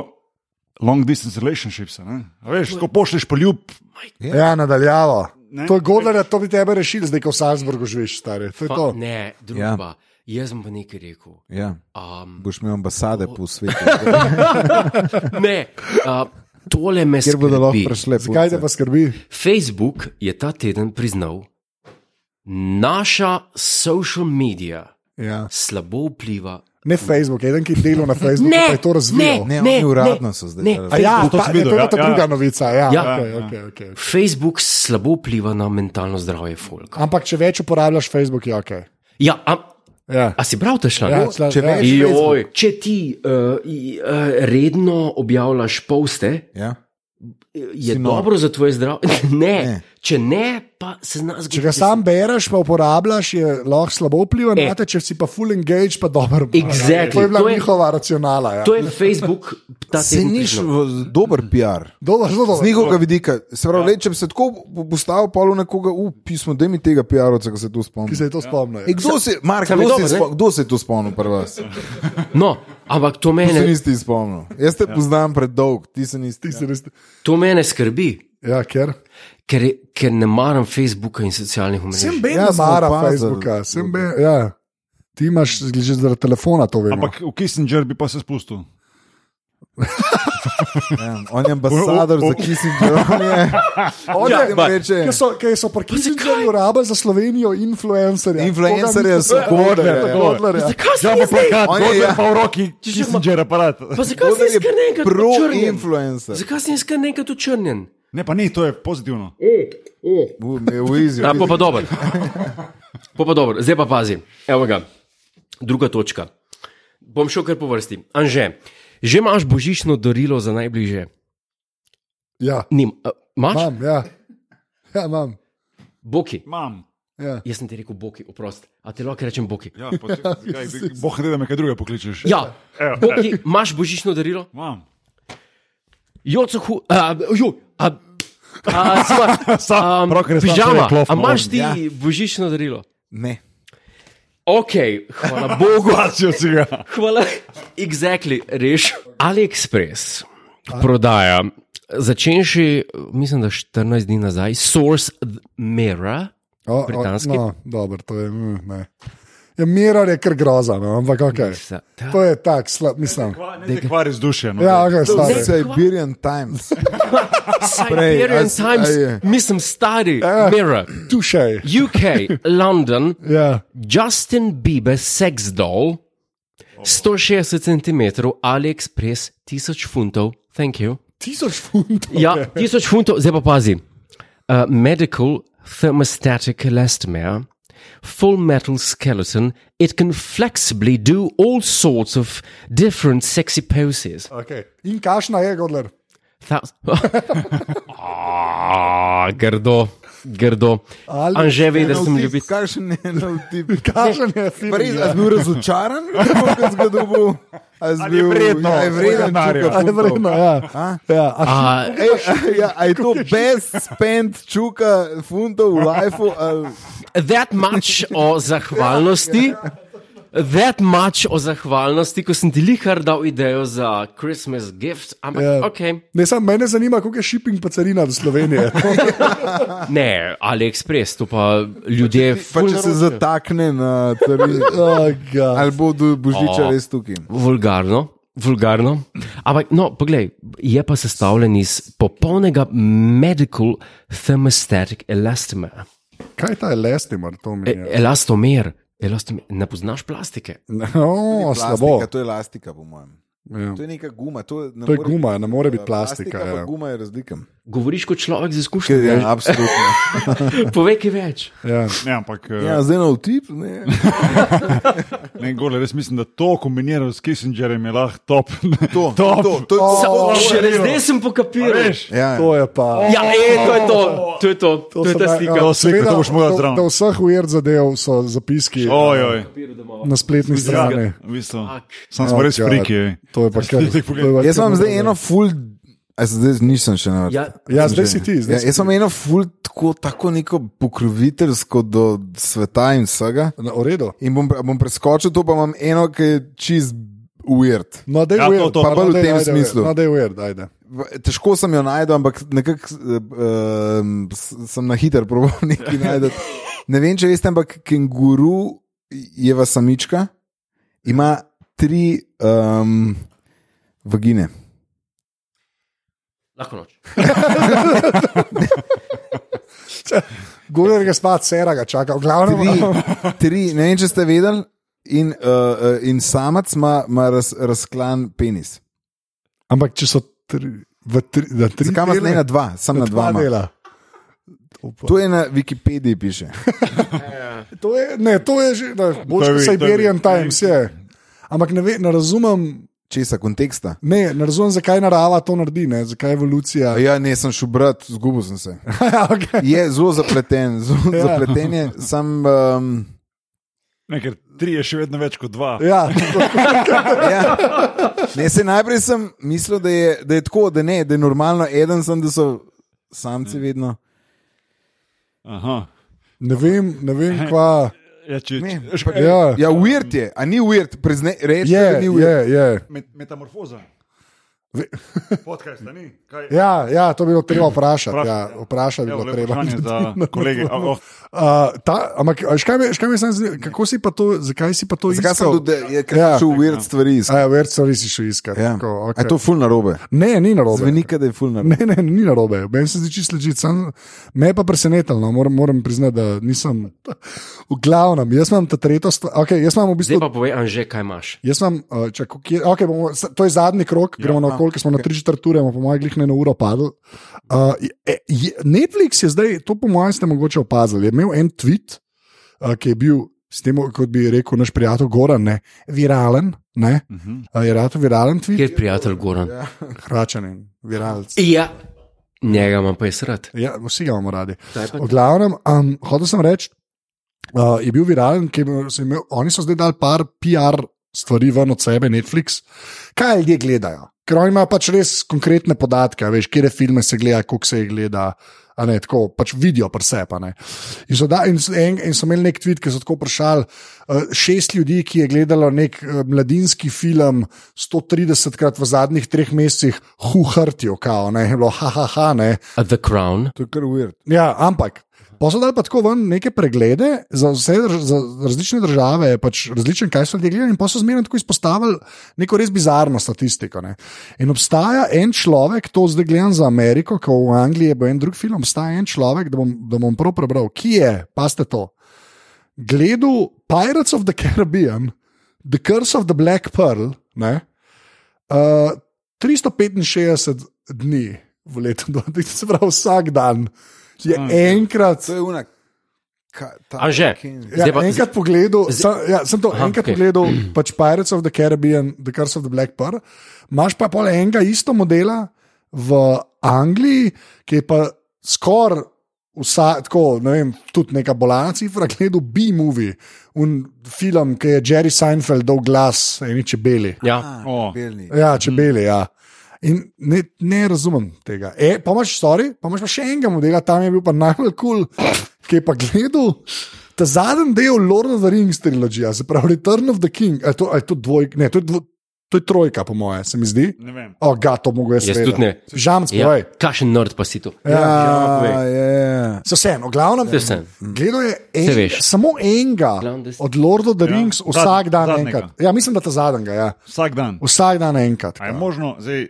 D: long distance relationships. a ne. A Veš, ko pošleš poljub,
A: Ja, nadaljavo.
D: Ne.
A: To je gore, da to bi tebe rešili, zdaj ko v Salzburgu živiš, stari. To je to.
B: Pa, ne, druga. Ja. Jaz bom pa nekaj rekel.
C: Ja,
B: Um,
C: boš imel ambasade po svetu,
B: ne, uh, tole me
C: kjer bodo lahko
B: skrbi.
C: prišle.
A: Zakaj te pa skrbi?
B: Facebook je ta teden priznal, naša social medija
A: Ja.
B: slabo vpliva.
A: Ne Facebook, eden, ki je delal na Facebooku,
B: Ne,
A: pa je to razvil.
C: Ne,
B: Ne,
C: oni
B: ne,
C: uradno so zdaj.
B: ne.
C: delali.
A: A ja,
D: to
A: ta,
D: sem
A: je, to
D: videl,
A: je
D: ja,
A: ta
D: ja.
A: druga novica. Ja,
B: Ja.
A: Okay, okay, okay.
B: Facebook slabo vpliva na mentalno zdravje folka.
A: Ampak če več uporabljaš Facebook, je ok.
B: Ja, a,
A: Ja.
B: a si prav ta šla?
A: Ja, sla-
C: če
A: ja.
C: veš-
B: Joj, če ti uh, i, uh, redno objavljaš poste, eh,
C: Ja.
B: je
C: Si nor.
B: dobro za tvoje zdravje. Ne,
C: Ne.
B: ne, če ne, pa se znaš
A: Če ga sam bereš, pa uporabljaš, je lahko slabo vpliva
B: E.
A: na te, če si pa full engage, pa dobro. uporabljaš.
B: Exactly.
A: To je bila
B: To je-
A: njihova racionala. Ja.
B: To je Facebook, ta
C: Se
B: teden
C: niš
B: priznal.
C: v- dober PR.
A: Dobro, zelo
C: Z
A: dobro.
C: njihovega vidika, se pravi, ja. le, če bi se tako po- postavil, pa v nekoga, v pismo, da mi tega PR-ovca, ki se tu
A: Ki
C: spomni.
A: se je to spomnil. ja.
C: E, kdo, se, Mark,
B: Sam je
C: kdo,
B: dober,
C: se
B: ne?
C: spo, kdo se je tu spomnil pri vas? Ti
B: No, ampak to
C: se
B: mene,
C: nisi spomnil. Jaz te ja. poznam predolg, ti se nisi.
A: Ti si res-
B: to mene skrbi,
A: Ja, ker.
B: ker, je- ker ne maram Facebooka in socialnih
C: Sem
B: omrežij.
C: bil
A: Ja,
C: na
A: mara Facebooka, sem bil. Ja. Ti imaš že zaradi telefona to vemo.
D: ampak v Kissinger bi pa se spustil.
C: Ja, on je ambasador
D: O, o, o.
C: za Kissinger. on je- On
B: Ja,
C: je jim
B: ampak-
C: reče.
A: Kaj so, kaj so pri Kissingerju rabili za Slovenijo influencerje?
C: Influencerje so
A: Godler.
C: Godlerje.
A: Godler, ja.
B: Zakaj se
D: Ja,
B: mi
D: pa
B: zdaj?
D: plakat,
C: On je,
D: on je
C: ja.
D: pa v roki Kissinger aparat.
B: Pa zakaj si jaz kar nekaj črnjen?
C: Pro-influencer.
B: Zakaj si jaz kar nekaj črnjen?
D: Ne, pa ni, to je pozitivno.
C: E,
B: Ja, pa pa dobro. Pa pa dobro. Zdaj pa pazi. Evo ga. Druga točka. Bom šel kar po vrsti. Anže, že imaš božično darilo za najbližje?
A: Ja,
B: Nim, a, imaš?
A: imam, ja. Ja, imam.
B: Boki.
D: Imam.
A: Ja.
B: Jaz sem ti rekel, boki, oprosti. A ti lahko rečem, boki.
D: Ja, pa če- zakaj bi- Bog ne da me kaj drugega pokličeš.
B: Ja, boki, imaš božično darilo?
D: Imam.
B: Joco, hu, a, ju, a, a, sva,
D: Sam,
B: am,
D: pravkar je sam
B: pižama,
D: človek klof
B: a imaš
D: on.
B: ti
C: Ja.
B: božično darilo?
C: Ne.
B: Ok, hvala Bogu.
D: Plačil si ga.
B: Hvala. Exactly, reš. AliExpress prodaja, začenši, mislim, da 14 dni nazaj, Source Mera.
A: O, o,
B: Britanski?
A: No, dobro, to je. Mm, ne. ja, Mirar je kar groza, no, ampak ok. To je tak, slab, mislim.
D: Ne te kvari z dušem. No.
A: Ja, ok,
C: To
A: slab.
C: je Siberian Times. Prej,
B: Siberian
C: a s- a
B: Times,
C: je.
B: mislim, stari,
A: Ja.
B: Mera.
A: Tušej.
B: UK, London,
A: Ja.
B: Justin Bieber, sex doll, 160 cm, AliExpress, 1000 funtov, thank you.
A: Tisoč funtov.
B: Ja, 1000 funtov, zdaj pa pazi. Uh, medical thermostatic elastomer, Full Metal Skeleton, it can flexibly do all sorts of different sexy poses.
A: Okay. In kašna je, Godler.
B: Thous- Ah, grdo, grdo.
A: Ali-
B: Anže ve, da sem ljubitelj.
C: Kakšen je nov tip?
A: Kašen je, film.
C: Pa Res, a si bil razočaran, kako si ga dobil? A si
D: Ali je vredno?
C: Ja, je vredno
D: Denarja.
C: čuka
A: A je
C: funtov?
A: vredno, ja. ja. A
B: A,
C: Ej, a, ja, a je to best spent čuka funtov v lifeu? ali-
B: that much o zahvalnosti. That much o zahvalnosti, ko sem ti lihar dal idejo za Christmas gift, ampak
A: Ja.
B: yeah. ok.
A: Ne, samo mene zanima, koliko je shipping pa carina do Slovenije.
B: Ne, AliExpress, to pa ljudje.
C: Pa
B: ful
C: Pač če se
B: naročijo.
C: zatakne na temi,
A: Oh, God.
C: ali bo do božiča res tukaj.
B: Vulgarno. Vulgarno. Ampak, no, poglej, je pa sestavljen iz popolnega medical thermostatic elastomera.
A: Kaj je ta elastimer, to mi
B: E,
C: Ja.
A: je?
B: elastomer, elastomer, ne poznaš plastike.
A: No, slabo.
C: Plastika, to je elastika, po mojem.
A: Ja.
C: To je neka guma. To, ne
A: To je
C: more Eh,
A: guma, ne more biti
C: plastika,
A: plastika,
C: pa
A: ja.
C: Guma je razlika.
B: Govoriš kot človek z izkušnjami.
C: Ja,
B: Ja.
C: absolutno.
B: Povej, kaj več.
A: Ja.
D: Ne, ampak eh,
C: Ja, zdaj na vtip. Ne.
D: ne, gole, res mislim, da to kombinirano s Kissingerjem je lahko top.
C: To,
D: Top.
C: to, to,
A: O,
C: to,
B: Še zdaj sem pokapiral.
D: Veš,
C: ja,
A: To je pa.
B: Ja, e, to je to, to je to, to je
A: so
B: ta
A: me-
B: slika.
A: ja,
D: To sliko,
A: seveda,
D: to boš moral
A: do-
D: zraven.
A: Do vseh ujerd zadev so zapiski
D: ojoj.
A: na spletni strani.
D: Ja, V bistvu.
B: Ak.
D: Sam smo
A: Oh,
D: res
A: God.
D: friki.
A: To je pa kar.
D: Zdaj pogledaj.
A: to je pa
C: Jaz
A: kar
C: imam zdaj
A: narobe.
C: eno ful. a se Zdaj nisem še na vrsti.
B: Ja,
A: Ja, zdaj si ti,
C: Ja,
A: zdaj si
C: jaz imam eno ful tako, tako neko pokroviteljsko do sveta in vsega.
A: Na uredu.
C: In bom, bom preskočil to, pa imam eno, ki je čist weird.
A: No, da je
D: Ja, to,
A: ured,
D: to,
A: pa
C: pa bolj v
A: daj,
C: tem
A: ajde,
C: smislu.
A: No, da je ured, ajde.
C: V- Težko sem jo najdel, ampak nekako um, sem na hiter probal nekaj najti. Ne vem, če veste, ampak kenguru je vas samička, ima tri um, vagine.
B: lahko noč.
A: Guler ga spat, sera ga čaka, glavno.
C: tri, tri, ne vem, če ste vedeli. In, uh, uh, in samac ima ima raz, razklan penis.
A: Ampak če so tri, v tri, na tri
C: Zakaj ima
A: dele,
C: ne na dva, samo na dva?
A: dva
C: ima.
A: dela.
C: To je na Wikipediji piše.
A: To je, ne, to je že, da, boš
D: To je-
A: kot
D: to je-
A: Siberian Times je. Ampak ne, ve, ne razumem,
C: Česa, konteksta?
A: ne, ne razumem, zakaj narava to naredi, ne, zakaj evolucija.
C: Ja, ne, sem šel brat, zgubil sem se.
A: Ja, okay.
C: Je zelo zapleten, zelo
A: Ja.
C: ja. zapleten je. Sam, um,
D: Ne, ker tri je še vedno več kot dva.
A: ja,
C: ja. ne, se najprej sem mislil, da je, da je tako, da, ne, da je normalno, eden sem, da so samci vedno.
D: Aha.
A: ne vem, ne vem, kva.
D: Ja, če,
C: Ne.
D: če, pa,
A: Ja,
C: Ja, weird je, a ni weird, prezne, reči, da
A: je,
C: ni weird.
A: je, je.
D: met, metamorfoza.
A: Ve-
D: Podcast, a ni? Kaj?
A: Ja, ja, to bi bilo treba vprašati.
D: Vprašaj,
A: Ja, vprašati bi
D: Evo,
A: bilo
D: lepo
A: treba.
D: vprašanje za kolege. A, oh,
A: Uh, ta, ampak, a veš, kaj me, veš, kaj me samo zanima, kako si pa to, zakaj si pa to
C: Zakaj sem
A: iskal?
C: tudi, da je
A: Ja.
C: ja. šel weird stvari iskati?
A: A, ja, verjetno nisi šel iskat.
C: Ja.
A: Tako,
C: Okay.
A: okej.
C: Je to ful narobe?
A: Ne, ni narobe.
C: Zveni, kot da je ful narobe.
A: Ne, ne, ni narobe, meni se zdi čisto ležite. Me je pa presenetilo, no. moram, moram priznati, da nisem. V glavnem, jaz imam ta tretjo stvar. Okay, jaz imam v bistvu.
B: Zdaj pa povej, Anže, kaj imaš.
A: Jaz imam, uh, če, kje, okay, bomo, s- to je zadnji krok, gremo na okolje, smo okay. na tri četrt ure, bomo po mojem, glih na eno uro padli. Uh, je, je, Netflix je zdaj, to po mojem, ste mogoče opazili. Je imel en tweet, uh, ki je bil, s tem, kot bi rekel naš prijatelj Goran, ne, viralen. Ne,
D: uh -huh.
A: uh, je rado viralen tweet,
B: Kjer prijatelj Goran? Ja.
A: hračanen, viralc.
B: ja. Njega imam pa jaz rad.
A: Ja, vsi ga imamo radi.
B: Kaj pa
A: V glavnem, um, hotel sem reči, uh, je bil viralen, ki je se imel, oni so zdaj dali par PR stvari ven od sebe, Netflix. Kaj ljudje gledajo? Ker oni imajo pač res konkretne podatke, a veš, kje filme se gleda, koliko se jih gleda. a Ne, tako pač vidijo, presep. In, so da- in, so- en, in so imeli nek tweet, ki so tako vprašali uh, šest ljudi, ki je gledalo nek uh, mladinski film 130 krat v zadnjih treh mesecih, huhrtijo, kao, ne, je bilo, ha, ha, ha, ne.
B: A The Crown.
C: To je kar weird.
A: Ja, ampak. Pa so dali pa tako ven neke preglede za vse drž za različne države, pač različne, kaj so ljudje gledali, in pa so zmerno tako izpostavili neko res bizarno statistiko. Ne. In obstaja en človek, to zdaj gledam za Ameriko, ko v Angliji je bil en drug film, obstaja en človek, da bom, da bom prav prebral, ki je, paste to, gledal Pirates of the Caribbean, The Curse of the Black Pearl, ne, uh, 365 dni v letu, 2000, se pravi vsak dan. Je enkrat,
C: To je unak. Ka- ta-
B: Anže,
A: Ja,
B: zdaj pa
A: enkrat pogledal, sem, ja, sem to Aha, enkrat
B: okej.
A: okay. pogledal, pač Pirates of the Caribbean, The Curse of the Black Pearl. Imáš pa pol enega isto modela v Angliji, ki je pa skoraj vsa, tako, ne vem, tudi neka bolana cifra, gledal B-movie, un film, ki je Jerry Seinfeld dal glas eni čebeli.
B: ja,
C: Ah,
D: O.
C: belni.
A: Ja, čebeli, ja. In ne, ne razumem tega. E, pa imaš, sorry, pa imaš pa še enega modela, tam je bil pa najbolj kul, cool, ki je pa gledal ta zadnji del Lord of the Rings trilogije, se pravi Return of the King. A je to, a je to, dvoj, ne, to, je dvo, to je trojka, po moje, se mi zdi.
D: Ne vem.
A: O, ga, to mogo jaz.
B: Jaz
A: vedeti.
B: tudi ne.
A: Žamc,
B: ja.
A: povej.
B: kakšen nerd pa si to.
C: Ja,
B: povej.
C: je.
A: Se vsem, glavno,
B: Saj vseeno.
A: gledal je
B: Saj
A: en,
B: veš.
A: samo enega
B: Glavno, da si-
A: od Lord of the
D: Ja,
A: Rings,
D: zadnj-
A: vsak dan
D: zadnjega.
A: enkrat. Ja, mislim, da ta zadnjega, ja.
D: Vsak dan.
A: Vsak dan enkrat.
D: A je
A: ja.
D: možno zdaj.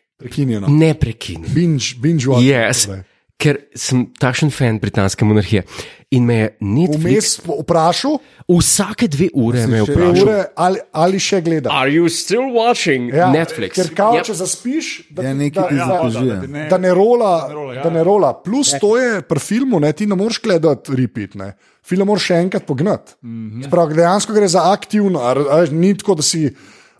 A: prekinjeno.
B: ne prekinjen.
A: Binge, binge watch.
B: Yes, ker sem takšen fan britanske monarhije in me je Netflix
A: Vmes po- vprašal,
B: vsake dve ure me je
A: dve
B: vprašal.
A: ure, ali, ali še gleda.
B: Are you still watching Netflix? Ja.
A: Ker kao,
B: Yep.
A: če zaspiš, da,
C: Ja,
A: ti-
C: nekaj
A: da,
C: ti
A: da,
C: zapiš.
A: da ne rola.
D: ne rola, ja.
A: Da ne rola. Plus to je pri filmu, ne, ti ne moreš gledati repeat. Ne. Film moraš še enkrat pognati. Mm
D: Mhm.
A: -hmm. Dejansko gre za aktivno, a, a, ni tako, da si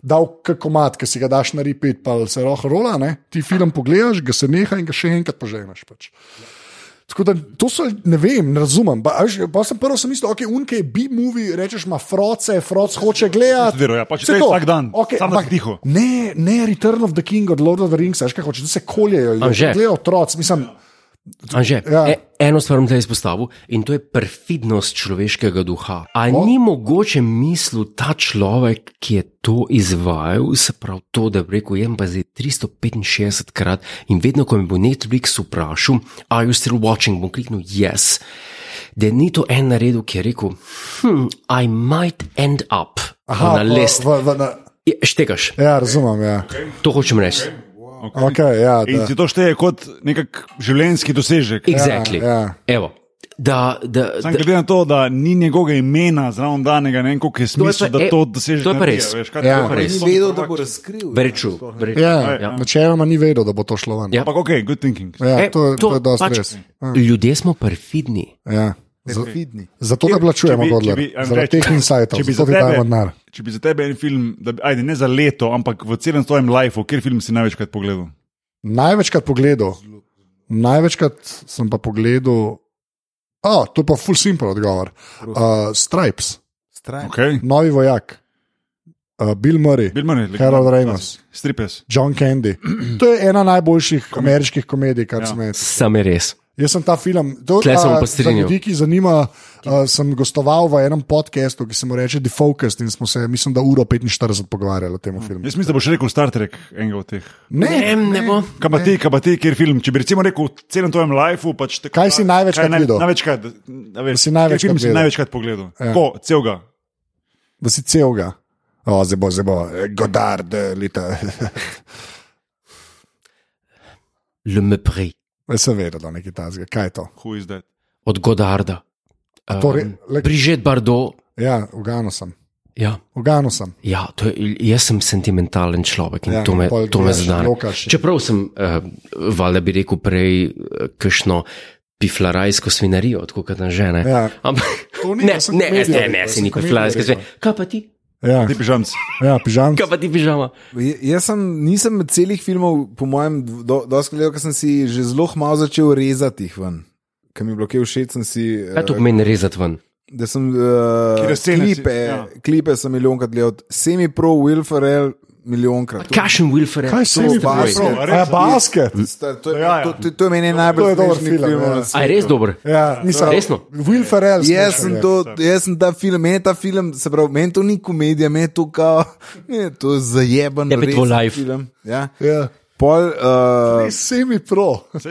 A: dal kak komat, ki si ga daš na repeat, pa se roh rola. Ne. Ti film pogledaš, ga se neha in ga še enkrat poženeš. Pač. Tako da to so, ne vem, ne razumem. Pa, a veš, pa sem prvo sem mislil, ok, unke je B-movie, rečeš, ima froce, froc hoče gledati.
D: Zdero, ja, pač
A: Vse
D: to je
A: to.
D: vsak dan,
A: Okej,
D: samo da
A: ampak
D: si tiho.
A: Ne, ne, Return of the King od Lord of the Rings, veš kaj hočeš, da se koljejo,
B: Anže.
A: gledajo otroci. Mislim,
B: Anže,
A: Ja.
B: ja. e, eno stvar bom tle izpostavil in to je perfidnost človeškega duha. A o. ni mogoče mislil ta človek, ki je to izvajal, se pravi to, da bi rekel, jem pa zdaj 365 krat in vedno, ko me bo Netflix vprašal, are you still watching, bom kliknil yes. Da ni to en naredil, ki je rekel, hm, I might end up Aha, na
A: v-
B: list.
A: v- v- na,
B: Je, Štekaš,
A: ja, razumem. Ja.
B: to hočem reči.
A: Okay, ja,
D: In
A: da.
D: ti to šteje kot nek življenjski dosežek.
B: Exactly.
A: Ja, ja.
B: Evo. Da, da,
D: Sam glede na to, da ni njegovega imena zraven danega, ne vem, koliko je
B: je
D: smisel,
B: pa-
D: da
B: e,
D: to dosežeš.
B: to je pa
D: na
B: res.
D: rije, veš, kaj
A: Ja.
D: to je pa res.
C: Ni vedel, da bo razkril.
B: Very true. Very true.
A: Ja, ja. Načeloma ni vedel, da bo to šlo ven.
B: Ja.
D: Ampak ok, good thinking.
A: Ja,
B: E,
A: to, to je dosti
B: pač,
A: pač, res.
B: Ljudje smo perfidni.
A: Ja.
C: Za vidni.
A: Zato ga plačujemo, Godler, zaradi teh insightov,
D: če bi,
A: zato ti dajemo denar.
D: če bi za tebe en film, da, bi- ajde ne za leto, ampak v celem svojem lifeu, kjer film si največkrat pogledal?
A: Največkrat pogledal, največkrat sem pa pogledal, a oh, to je pa full simple odgovor. Uh, Stripes,
C: Stran.
D: Okay.
A: novi vojak, uh, Bill Murray,
D: Bill Murray,
A: Harold
D: legendarni
A: Reynolds.
D: klasik. Stripes.
A: John Candy. To je ena najboljših ameriških komedij, kar ja.
D: Ja.
A: sem jaz.
B: Sam je res.
A: Jaz sem ta film, to
B: Tle se bom
A: a,
B: pa
A: za
B: strinjal.
A: ljudi, ki zanima, uh, sem gostoval v enem podkastu, ki se mu reče Defocused in smo se, mislim, da uro 45 pogovarjali o tem filmu.
D: Jaz mislim, da boš rekel Star Trek, enega od teh.
B: Ne, ne bo.
D: Kaj pa ti, kaj pa ti, kjer film? Če bi recimo rekel v celem tvojem lifeu, pač tako,
A: Kaj si največkrat
D: kaj naj-
A: videl?
D: Največkrat, a veš,
A: Si največkrat
D: kateri film si
A: gledal?
D: največkrat pogledal. Ja. Ko, celega.
A: Da si celega. O, zdaj bo, zdaj bo, eh, Godard, eh, leta.
B: Le Mepri
A: Jaz sem vedel, da je nekaj tazga. Kaj je to?
D: Who is that?
B: od Godarda.
A: torej, le-
B: Prižet Bardo.
A: Ja, ugano sem.
B: Ja,
A: Ugano sem.
B: ja to je, jaz sem sentimentalen človek in
A: Ja,
B: ja, to me,
A: pol
B: to me
A: gledaš,
B: zdane.
A: lokaš.
B: Čeprav sem, uh, valjda bi rekel, prej eh, kakšno piflarajsko svinarijo, tako kot na žene.
A: Ja.
B: Ampak,
A: To ni,
B: ne,
A: jaz sem
B: ne, ne,
A: komedijo
B: ne,
A: rekel,
B: ne,
A: jaz
B: si
A: sem no.
B: ni
A: komedijo
B: piflarajska
A: rekel.
B: svinarija. Kaj pa ti?
A: Ja,
D: Ti pižamci.
A: ja pižam.
B: Kaj pa ti pižama?
C: J- Jaz sem, nisem celih filmov, po mojem, do- dosti gledal, ker sem si že zelo malo začel rezati jih ven. Ker mi je bilo kaj všeč, sem si. eh,
B: Kaj Ja, to pomeni rezati ven?
C: Da sem uh,
D: Katere scene si-
C: klipe, ja.
D: ja.
C: klipe sem milijonkrat gledal, semi pro, Will Ferrell, milijonkrat.
B: Kašen Wilfred.
A: Kaj si mi
C: basket.
A: pravi?
D: A res?
A: Ja, basket.
C: Sta- To je,
D: Ja, ja.
C: to, to, to je meni
A: To je
C: najbolj
A: dober
C: smešnih
A: film,
C: filmov
A: ja.
C: na
B: A je res dober?
A: Ja, nisem.
B: Resno?
A: Will Ferrell. ja.
C: Jaz
A: smešen
C: sem,
A: je.
C: to, jaz sem ta film, meni je ta film, se pravi, meni to ni komedija, meni je to kao, meni je to zajeben,
B: Je pa Ja, tvoj life.
C: film. Ja.
A: Ja.
C: Pol, uh,
A: Semi pro.
C: uh,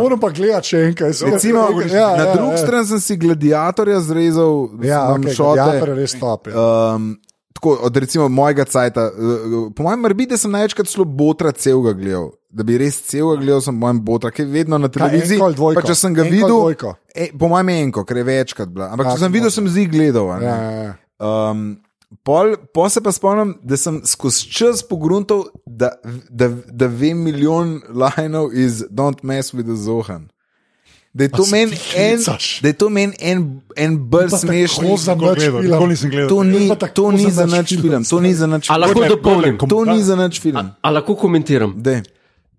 A: Moram pa gledati še enkaj.
C: Recimo, ja, na drugi strani sem si gladiatorja zrezal,
A: ja,
C: ja,
A: okay,
C: okay, šote,
A: Gladiator je res top, ja.
C: Um, tako, od recimo mojega cajta, eh, po mojem, morda sem največkrat celo botra celega gledal. Da bi res celega gledal, sem po mojem botra, ki je vedno na televiziji.
A: enko ali dvojko?
C: pa če sem ga
A: Enko ali
C: videl,
A: dvojko?
C: e, po mojem je enko, ker je večkrat bila. Ampak
A: Ja,
C: če sem videl, sem zdaj gledal. a ne.
A: Ja, ja, ja.
C: Um, pol, pol se pa spomnim, da sem skozi čas pogruntov, da, da, da vem milijon lajnov iz Don't Mess with the Zohan. Da je to
A: se
C: meni
A: ti
C: en,
A: hecaš?
C: da je to meni en, en bolj smešen.
A: za
D: Nikoli
A: nič
D: gledal,
A: film.
D: nikoli nisem gledal.
C: To ni,
A: Pa tako
C: to ni
A: za
C: za
A: nič
C: nič
A: film.
C: film, to ni za nič
B: A
C: film.
B: lahko
D: Gordon,
B: dopolnim?
D: Gordon,
C: To ni za nič film.
B: A lahko komentiram?
C: Dej.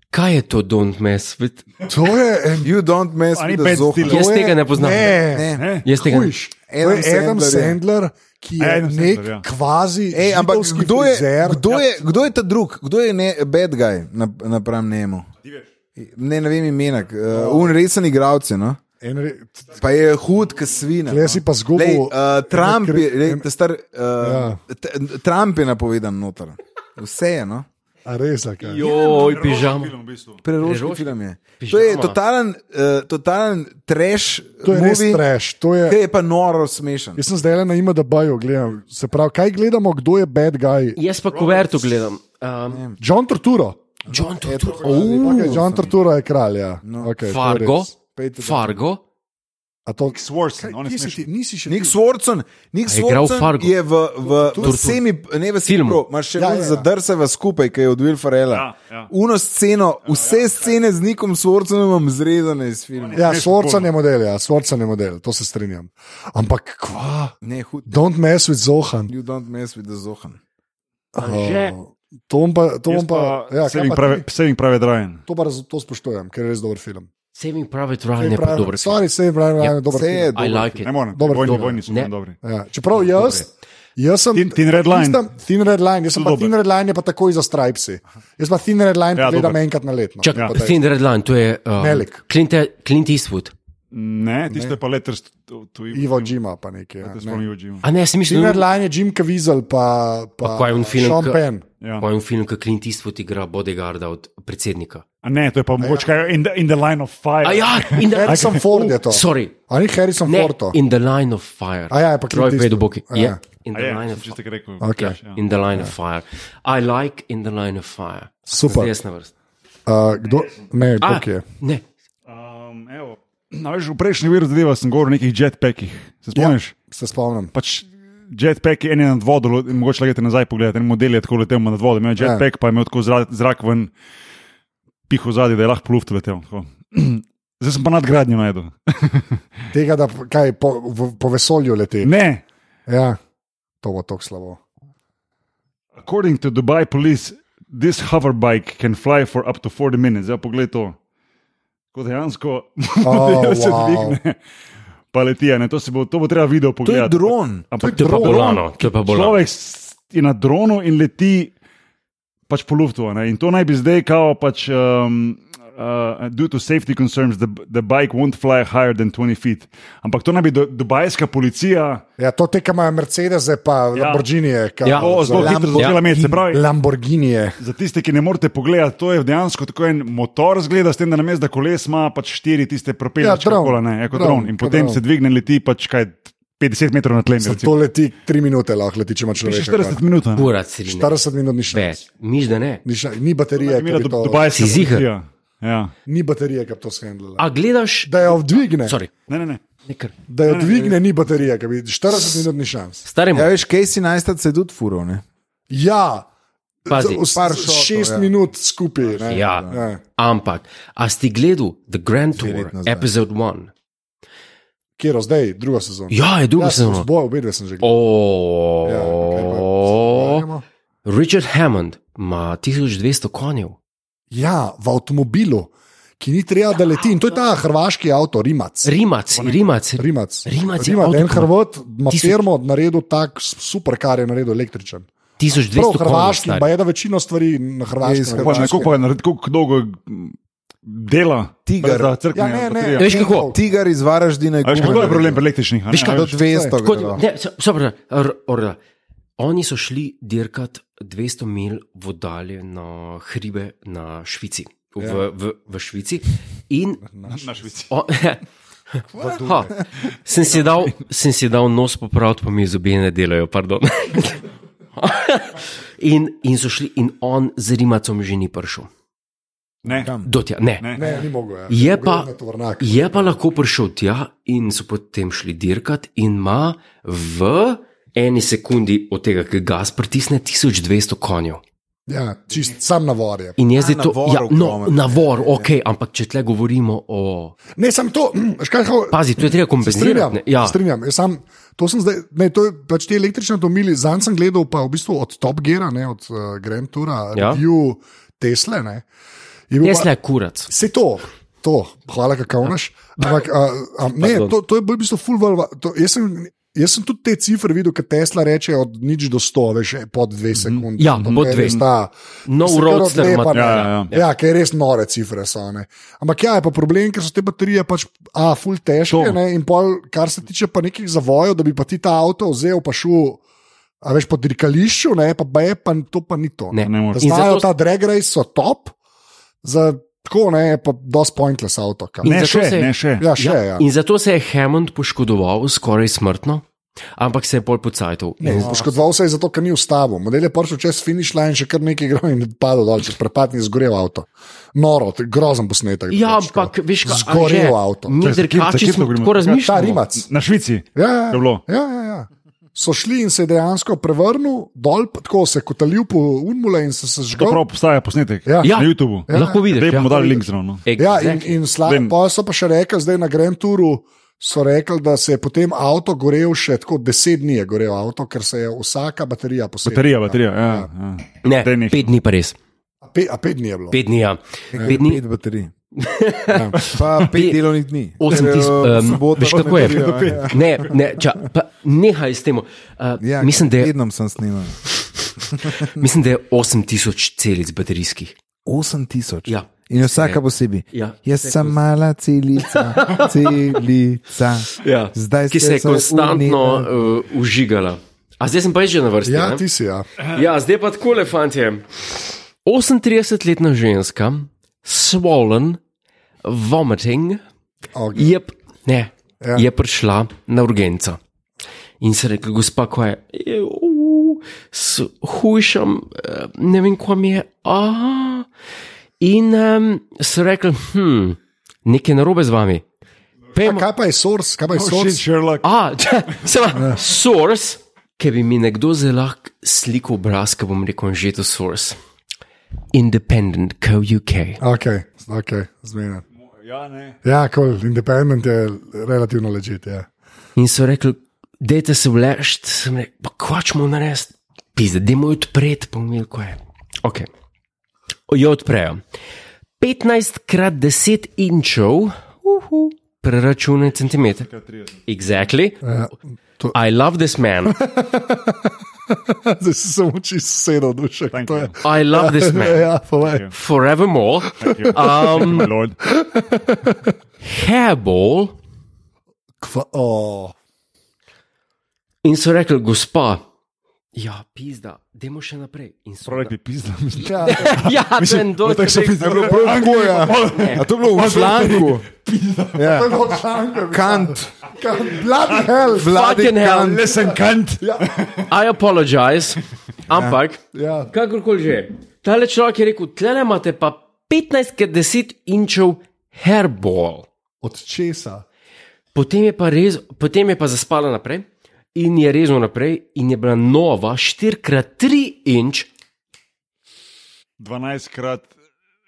B: Kaj je to don't mess with?
A: To je en
C: You don't mess
D: A ni
C: with the
D: Ben
C: Zohan.
D: Stiller?
B: Jaz
A: to je-
B: tega ne poznam.
A: Ne,
C: Ne.
B: Jaz tega ne.
A: Hujš. To
C: Adam
A: je Adam
C: Sandler je.
A: Sandler, ki je
D: Adam Sandler,
A: nek
D: ja.
A: kvazi.
C: Ej, ampak
A: židovski
C: kdo je,
A: frizer. Ja,
C: kdo, je, kdo je ta drug, kdo je ne, bad guy na- napram njemu? Ne, ne vem imena,
A: No.
C: uh, un resen igralec. No?
A: En re-
C: Pa je hud, ki svina. no.
A: Tule si pa zgubil-
C: Lej, uh, Trump, je, lej,
A: en-
C: ta star, uh, ja. Trump je napovedan noter. Vse je, no?
A: A res, a kaj?
B: Joj, pižam.
C: Preroški
B: Preroški?
C: film je.
B: Pižama.
C: To je totalen, uh, totalen trash.
A: To je res
C: movie,
A: trash. To je,
C: Ki je pa noro smešen.
A: jaz sem zdaj le na ima, da bajo gledam. Se pravi, kaj gledamo, kdo je bad guy?
B: Jaz pa kuverto gledam. Um,
A: John Torturo.
B: John Torturo.
A: Okay, John Torturo je kralj. Ja.
C: No.
A: Okay, to je
B: Fargo.
A: res.
C: Pejte, da-
B: Fargo.
A: A to-
D: Swarson, on je
A: Kje si ti?
D: smešen.
A: Nisi še
C: Nik
A: ti?
C: Swartzen, Nik
B: je igral
C: Swartzen
B: Fargo?
C: je v, v, v semi, ne v
B: Filmu.
C: filmu, imaš
A: Ja,
C: še ja,
A: ja, ja.
C: ja. zadrseva skupaj, ki je od Will Ferrella.
D: Ja, ja.
C: Uno sceno, vse scene z Nikom Swartzenom imam zrezane iz filma.
A: Ja,
D: Smešen
A: Svorcen je model, ja, Svorcen je model, to se strinjam. Ampak, kva,
C: Ne, hud.
A: don't mess with Zohan.
C: You don't mess with the Zohan.
B: Anže.
A: To bom pa, to bom
D: Jaz
A: pa, ja, kaj
D: Saving
A: pa
D: Prave-
A: ti?
D: Saving Private Ryan.
A: to, pa raz, to spoštujem, ker je res dober film.
B: Saving Private Ryan je pa dober. film. Ja,
A: Stvari se jim pravi, da je dober
C: Vse je
A: film.
B: I
C: dober.
B: like it.
D: Ne morem,
A: Dobro,
D: vojni,
A: dobro.
D: vojni so
B: Ne.
D: bili dobri.
A: Ja, čeprav jaz, jaz sem.
D: Thin- Thin Red Line.
A: Tistem, thin Red Line, jaz sem pa
D: Dober.
A: Thin Red Line, je pa takoj za Stripesi. Jaz pa Thin Red Line
D: Ja,
A: ja, gledam
D: dober.
A: enkrat na leto.
B: Čak,
A: ja.
B: Thin Red Line, to je um,
A: Melik.
B: Clint, Clint Eastwood.
D: Ne, tisto je pa letters to to
A: Ivo Jima pa nekaj. Ja,
D: To smo
A: ne.
D: mi uživali.
B: A ne, sem
A: Thin
B: mislil,
A: Red Line je Jim Caviezel, pa, pa,
B: Pa kaj je on film,
A: Sean
B: ka-
A: Penn.
D: Ja.
B: Pojem film, ki Clint Eastwood igra bodyguarda od predsednika.
D: A Ne, to je pa mogoče kaj in the, in the line of fire.
B: ja. A ja, in the,
A: Harrison Ford je to.
B: sorry,
A: Ali Harrison
B: ne,
A: Ford to?
B: in the line of fire.
A: A ja, je pa Clint
B: Troy
A: Eastwood.
B: Pedoboki.
A: A ja.
B: Ja, in
D: A
B: the
D: je,
B: line of
D: če ste
B: fire.
D: kaj rekel.
A: Okej.
D: Ja.
B: In the line of fire. I like in the line of fire.
A: Super.
B: Zdaj jaz na vrst.
A: Uh, kdo? Ne,
B: A,
A: kdo je?
B: Ne,
D: Um, evo, na, veš, v prejšnji veri zadeva sem govoril o nekih jetpackih. Se spomniš? Ja.
A: Se spomnim.
D: Pač jetpack je en je nad vodo, lo- mogoče lagate nazaj pogledati, en model je tako letel nad vodo, imel je jetpack, ja. pa je imel tako zrak, zrak ven, piho zadaj, da je lahko po luftu letel. tako. Zdaj sem pa nadgradnjo najdel.
A: Tega, da p- kaj po, v, po vesolju leti.
D: Ne,
A: Ja, to bo tako slabo.
D: according to Dubai police, this hoverbike can fly for up to 40 minutes. Zdaj pogled to. Ko dejansko
A: Oh,
D: model se
A: wow.
D: dvigne, pa leti. a Ne? To, se bo, to bo treba video
C: To je
D: pogledati.
C: dron.
D: Ampak
B: to je pa bolano, to je pa bolano.
D: Človek s- je na dronu in leti pač po luftu. a ne. In to naj bi zdaj, kao pač, um, uh, due to safety concerns, the, the bike won't fly higher than 20 feet. Ampak to naj bi do, dubajska policija
A: Ja, to te, ki imajo Mercedese, pa ja. Lamborghinije. ka-
B: Ja.
D: to zelo
A: Lam-
D: hitro začela imeti. Se pravi,
A: Lamborghinije.
D: za tiste, ki ne morete pogledati, to je dejansko tako en motor, zgleda, s tem, da na mestu koles ima pač štiri tiste propeljače,
A: Ja, dron.
D: kola, ne, kot
A: Dron,
D: dron. In
A: kot
D: potem
A: dron.
D: se dvigne in leti pač kaj 50 metrov na tlemi.
A: To leti tri minute, lahko leti, če ima
D: Še
A: človek.
D: 40 minut. a ne.
B: Kurat si ne.
A: 40 minut ni šlo.
B: Več, miš da ne.
A: Ni, šla- ni baterije, ki
D: Mira,
A: bi
D: du-
A: to,
D: dubajska
B: Si ziher?
D: policija. Ja.
A: ni baterije, ki bi to shendlala.
B: A gledaš,
A: Da jo dvigne,
B: sorry,
D: Ne, ne, ne.
B: nekaj.
A: da jo dvigne, ni baterije, ki bi 40 minut ni šans.
B: Staremo,
C: Ja, veš, Casey Neistat se je tudi furil. ne.
A: Ja,
B: pazi.
C: par
A: z- z-
C: šotov,
A: šest
C: ja.
A: minut skupaj. ne.
B: Ja.
A: Ja.
B: Ampak, a si ti gledal The Grand Tour,
C: let nazaj.
B: epizode 1?
A: Kjer zdaj, druga sezona.
B: Ja, je druga
A: Ja,
B: sezona.
A: Zboj, obe dve sem že gledal. Ja, kaj pa
B: Oh,
A: se
B: Richard Hammond ima 1200 konjev.
A: Ja, v avtomobilu, ki ni treba, da leti. In to je ta hrvaški avto, Rimac.
B: Rimac, Rimac.
A: Rimac.
B: Rimac je
A: Rimac en
B: avto, ki ima
A: Hrvat, ima
B: tisoč-
A: firmo, naredil tak super, kar je naredil električen.
B: 1200
A: Prav,
B: konjev.
A: hrvaški, pa
B: stari.
A: je da večino stvari na
C: Je iz
A: hrvaškem.
D: Pa
A: naredi.
D: ne, koliko je naredil, koliko dolgo mm, dela
C: Tiger.
D: da crkne.
A: Ja, ne, ne.
D: baterija.
B: Veš kako?
A: Kenkov.
C: Tiger iz Varaždina je
D: A veš, kako je
C: kupil.
D: problem pri električnih? a ne,
B: Ja, Veš kaj?
D: a
C: Do
D: veš?
C: 200.
B: Tako,
C: gredo.
B: ne, so- so prav, r- orla. Oni so šli dirkat 200 mil v dalje na hribe na Švici, v, ja. v, v Švici. In
D: Na Švici.
B: o, ja. ha, sem, si dal, sem si dal nos popraviti, pa mi zobje ne delajo. pardon. in, in so šli, in on z Rimacom že ni prišel.
D: Ne,
B: Do tja, ne.
D: ne.
A: Ne, ni mogel. Ja.
B: Je
A: Mogel
B: pa,
A: na tovornjak.
B: je pa lahko prišel tja in so potem šli dirkat, in ima v eni sekundi od tega, ki gas pritisne, 1200 konjev.
A: Ja, čist, sam navor je.
B: In jaz zdaj
C: A,
B: to,
C: navor
B: ja, no,
C: ogromno.
B: navor, ok, ampak če tle govorimo o.
A: Ne, sem to, škaj ho.
B: Pazi, to je treba
A: Se strinjam,
B: kompenzirati. ne, Ja,
A: se strinjam. Jaz Sam, to sem zdaj, ne, to je pač ti električni avtomobili. Zanj sem gledal pa v bistvu od Top Geara, ne od uh, Grand Tura,
B: Ja.
A: ja. review Tesle. Ne. Je bil pa-
B: Tesla je kurac.
A: Se to, to, hvala, kakavnaš. Ampak a, a, ne,
B: Pardon.
A: to, to je bolj v bistvu full valva. To, jaz, sem, jaz sem tudi te cifre videl, ki Tesla reče od nič do sto, veš, pod dve sekunde.
B: Ja, pod dve.
A: Sta,
B: No, roadster mat-
D: Ja,
A: ja,
D: ja, ja.
A: ja. ja, ker res nore cifre so. Ne. Ampak ja, je pa problem, ker so te baterije pač, a, full težke.
D: To.
A: Ne, in pol, kar se tiče pa nekih zavojev, da bi pa ti ta avto vzel, pa šel, a veš, po dirkališču, ne, pa B, pa to pa ni to.
B: Ne.
D: Ne moreš.
B: In
A: Znajo
B: zato-
A: zato... ta drag race, so top, za tako ne, pa dosti pointless avto. kar.
B: In
D: Ne,
B: zato
D: še,
B: se-
D: ne, še.
A: Ja, še, ja.
B: In zato se je Hammond poškodoval skoraj smrtno, ampak se je bolj pocajtal.
A: Ne, poškodoval se je zato, ker ni ustavil. Model je prišel čez finish line, še kar nekaj igral in padel dol, čez prepad in zgorel avto. Noro, to je grozen posnetek. drugače,
B: Ja, ampak
A: tako.
B: veš, kaj
A: pač, no. Zgorel avto.
B: Mi,
D: Čakaj, za kje- za
B: drkači, smo
D: kje smo govorili? Ja,
B: tako
A: Ta
B: razmišljali.
A: rimac.
D: Na Švici.
A: Ja,
D: Je bilo.
A: ja, ja, ja. So šli in se je dejansko prevrnil dol, pa tako se je kotalil po unmule in se, se
D: To
A: žgal.
D: prav postaja posnetek
A: Ja.
D: na YouTubu.
B: Ja, lahko vidiš.
D: Zdaj
B: ja.
D: bomo dali link zraven. no.
A: Ja, in,
B: Exactly.
A: in sla,
D: Vem.
A: pa so pa še rekli, zdaj na Grand Touru so rekli, da se je potem avto gorel še tako deset dni, je gorel avto, ker se je vsaka baterija posebej.
D: Baterija, baterija. Ja, ja.
B: Ne,
D: Daj nekaj.
B: pet dni pa res.
A: A, pe, a pet dni je bilo.
B: Pet dni, ja. Pet dni,
C: Pet baterij. Ja, Pa pet delovnih dni.
B: osem
C: Ker,
B: tisoč.
C: eh,
B: Um,
C: sobota
B: veš,
C: pa
B: kako je?
C: nedelja, ja.
B: Ne, ne, ča, pa, nehaj s tem. Uh,
C: Ja,
B: mislim, da je,
C: Vedno sem snimil.
B: mislim, da je 8000 celic baterijskih.
C: 8000.
B: Ja.
C: In vsaka posebej.
B: Ja.
C: Jaz sem mala celica, celica.
B: Ja.
C: Zdaj
B: Ki se
C: ste
B: je
C: se
B: konstantno
C: unila.
B: uh, užigala. A zdaj sem pa jaz že na vrsti.
A: Ja,
B: ne?
A: ti si, ja.
B: Ja, zdaj pa tako, fantje. 38-letna ženska, swollen, vomiting,
A: Okay.
B: je, p- ne, ja.
A: Ja.
B: je prišla na urgenco. In se rekla, gospa, ko je, "Je, u, s hujšem, eh, ne vem, kam je. A. In um, se rekla, hm, nekaj je narobe z vami. Pejmo,
A: Kaj pa je source, kaj pa je
D: Shit,
A: source?
D: Sherlock.
B: A, samo source, ki bi mi nekdo zelo lahko slikal obraz, ki bom rekel, že to source. Independent, co UK.
A: Okay, okay, zmena.
D: Ja, ne.
A: Ja, kol, cool. independent je relativno ležit. Ja.
B: In so rekli, dajte se vleč, sem rekel, pa kvačmo narediti, pizde, dajmo jo odpreti, pa umil, ko je. Ok. Jo odprejo. 15 krat 10 inčev, uhu, preračunaj centimeter. Exactly.
A: to-
B: I love this man.
A: Zdaj si samo čisto sedel dušek.
D: Thank
A: To je-
B: I love this man.
A: Ja, povej.
B: Forevermore. Um,
D: My lord.
B: Hairball
A: Kva, oh.
B: in so rekli, gospa, ja, pizda, dajmo še naprej. In so
D: Prav rekli, pizda.
A: ja,
B: Ja, ten dol.
C: Tako so pisali, bilo prav tako, ja. A to je bilo v članku. Ja. Kant,
A: bloody hell.
C: vladi
B: Fucking hell.
C: Kant.
D: Lesen kant.
B: I apologize, ampak,
A: Ja.
B: kakorkoli že, tale človek je rekel, tle imate pa 15-10 inčev hairball.
A: Od česa?
B: Potem je, pa rez, potem je pa zaspala naprej in je rezal naprej, in je bila nova 4x3 inč.
D: 12 krat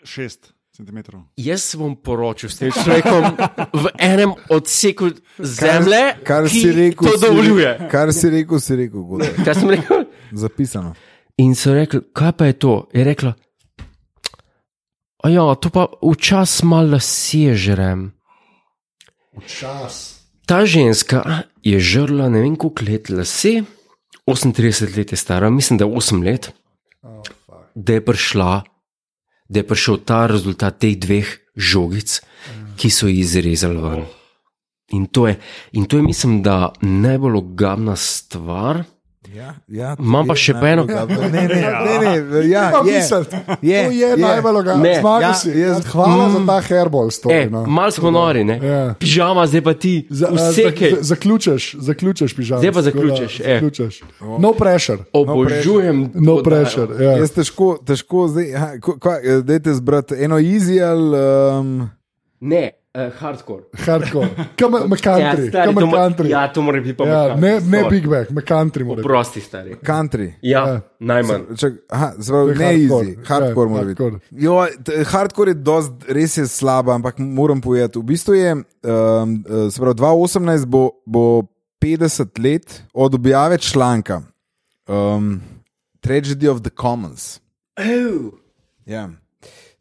D: 6 centimetrov.
B: Jaz se bom poročil s tem človekom v enem odseku zemlje,
C: kar
B: ki
C: si rekel,
B: to
C: si-
B: dovoljuje.
C: Kar si rekel, si rekel, Godo.
B: Kaj sem rekel?
C: zapisano.
B: In so rekli, kaj pa je to? Je rekla, "A ja, to pa včasih malo sežerem.
A: Čas.
B: Ta ženska je žrla ne vem koliko let lase, 38 let je stara, mislim, da 8 let,
A: Oh, fuck.
B: da je prišla, da je prišel ta rezultat teh dveh žogic,
A: Mm.
B: ki so jih izrezali ven. In to je, in to je mislim, da najbolj ogabna stvar,
C: Ja, ja, to
B: Imam pa
C: je
B: še pa eno-
C: najbolj dobro. Ne, ne, ne, ne, ja,
A: Ima
C: je,
A: misliti.
C: je,
A: to je, je najbolj
B: Ne.
A: logično. Zmagal
C: Ja,
A: si.
C: jaz- Mm.
A: Hvala za ta herbol. Story,
B: E,
A: no.
B: Mal smo nori, ne?
A: Ja.
B: Pižama, zdaj pa ti.
A: Za, a, za,
B: Vseke.
A: za- zaključiš, zaključiš, pižam.
B: Zdaj pa zaključiš, eh.
A: zaključiš. No pressure.
B: Obožujem.
A: No
B: to dajo.
A: pressure. Ja.
C: Jaz težko, težko zdaj, aha, ko- kva, eh, dajte zbrati eno easy ali. Um,
B: Ne, eh, hardcore.
A: Hardcore. Kam
B: Ja,
A: country.
B: stari,
A: Kam
B: to, mo-
A: country.
B: ja, to mora biti pa
A: Ja,
B: McCartney,
A: ne, ne
B: sorry.
A: Big Mac, McCountry mora biti.
B: Prosti, stari.
C: country.
B: Ja,
A: Ja.
B: najmanj.
C: Čak, aha, zelo
A: To je
C: ne
A: hardcore,
C: easy, hardcore
A: ja,
C: mora biti.
A: hardcore.
C: Jo, t- Hardcore je dost, res je slaba, ampak moram povedati. V bistvu je, um, se pravi, 2018 bo, bo 50 let od objave članka um, Tragedy of the Commons.
B: Ew.
C: Ja.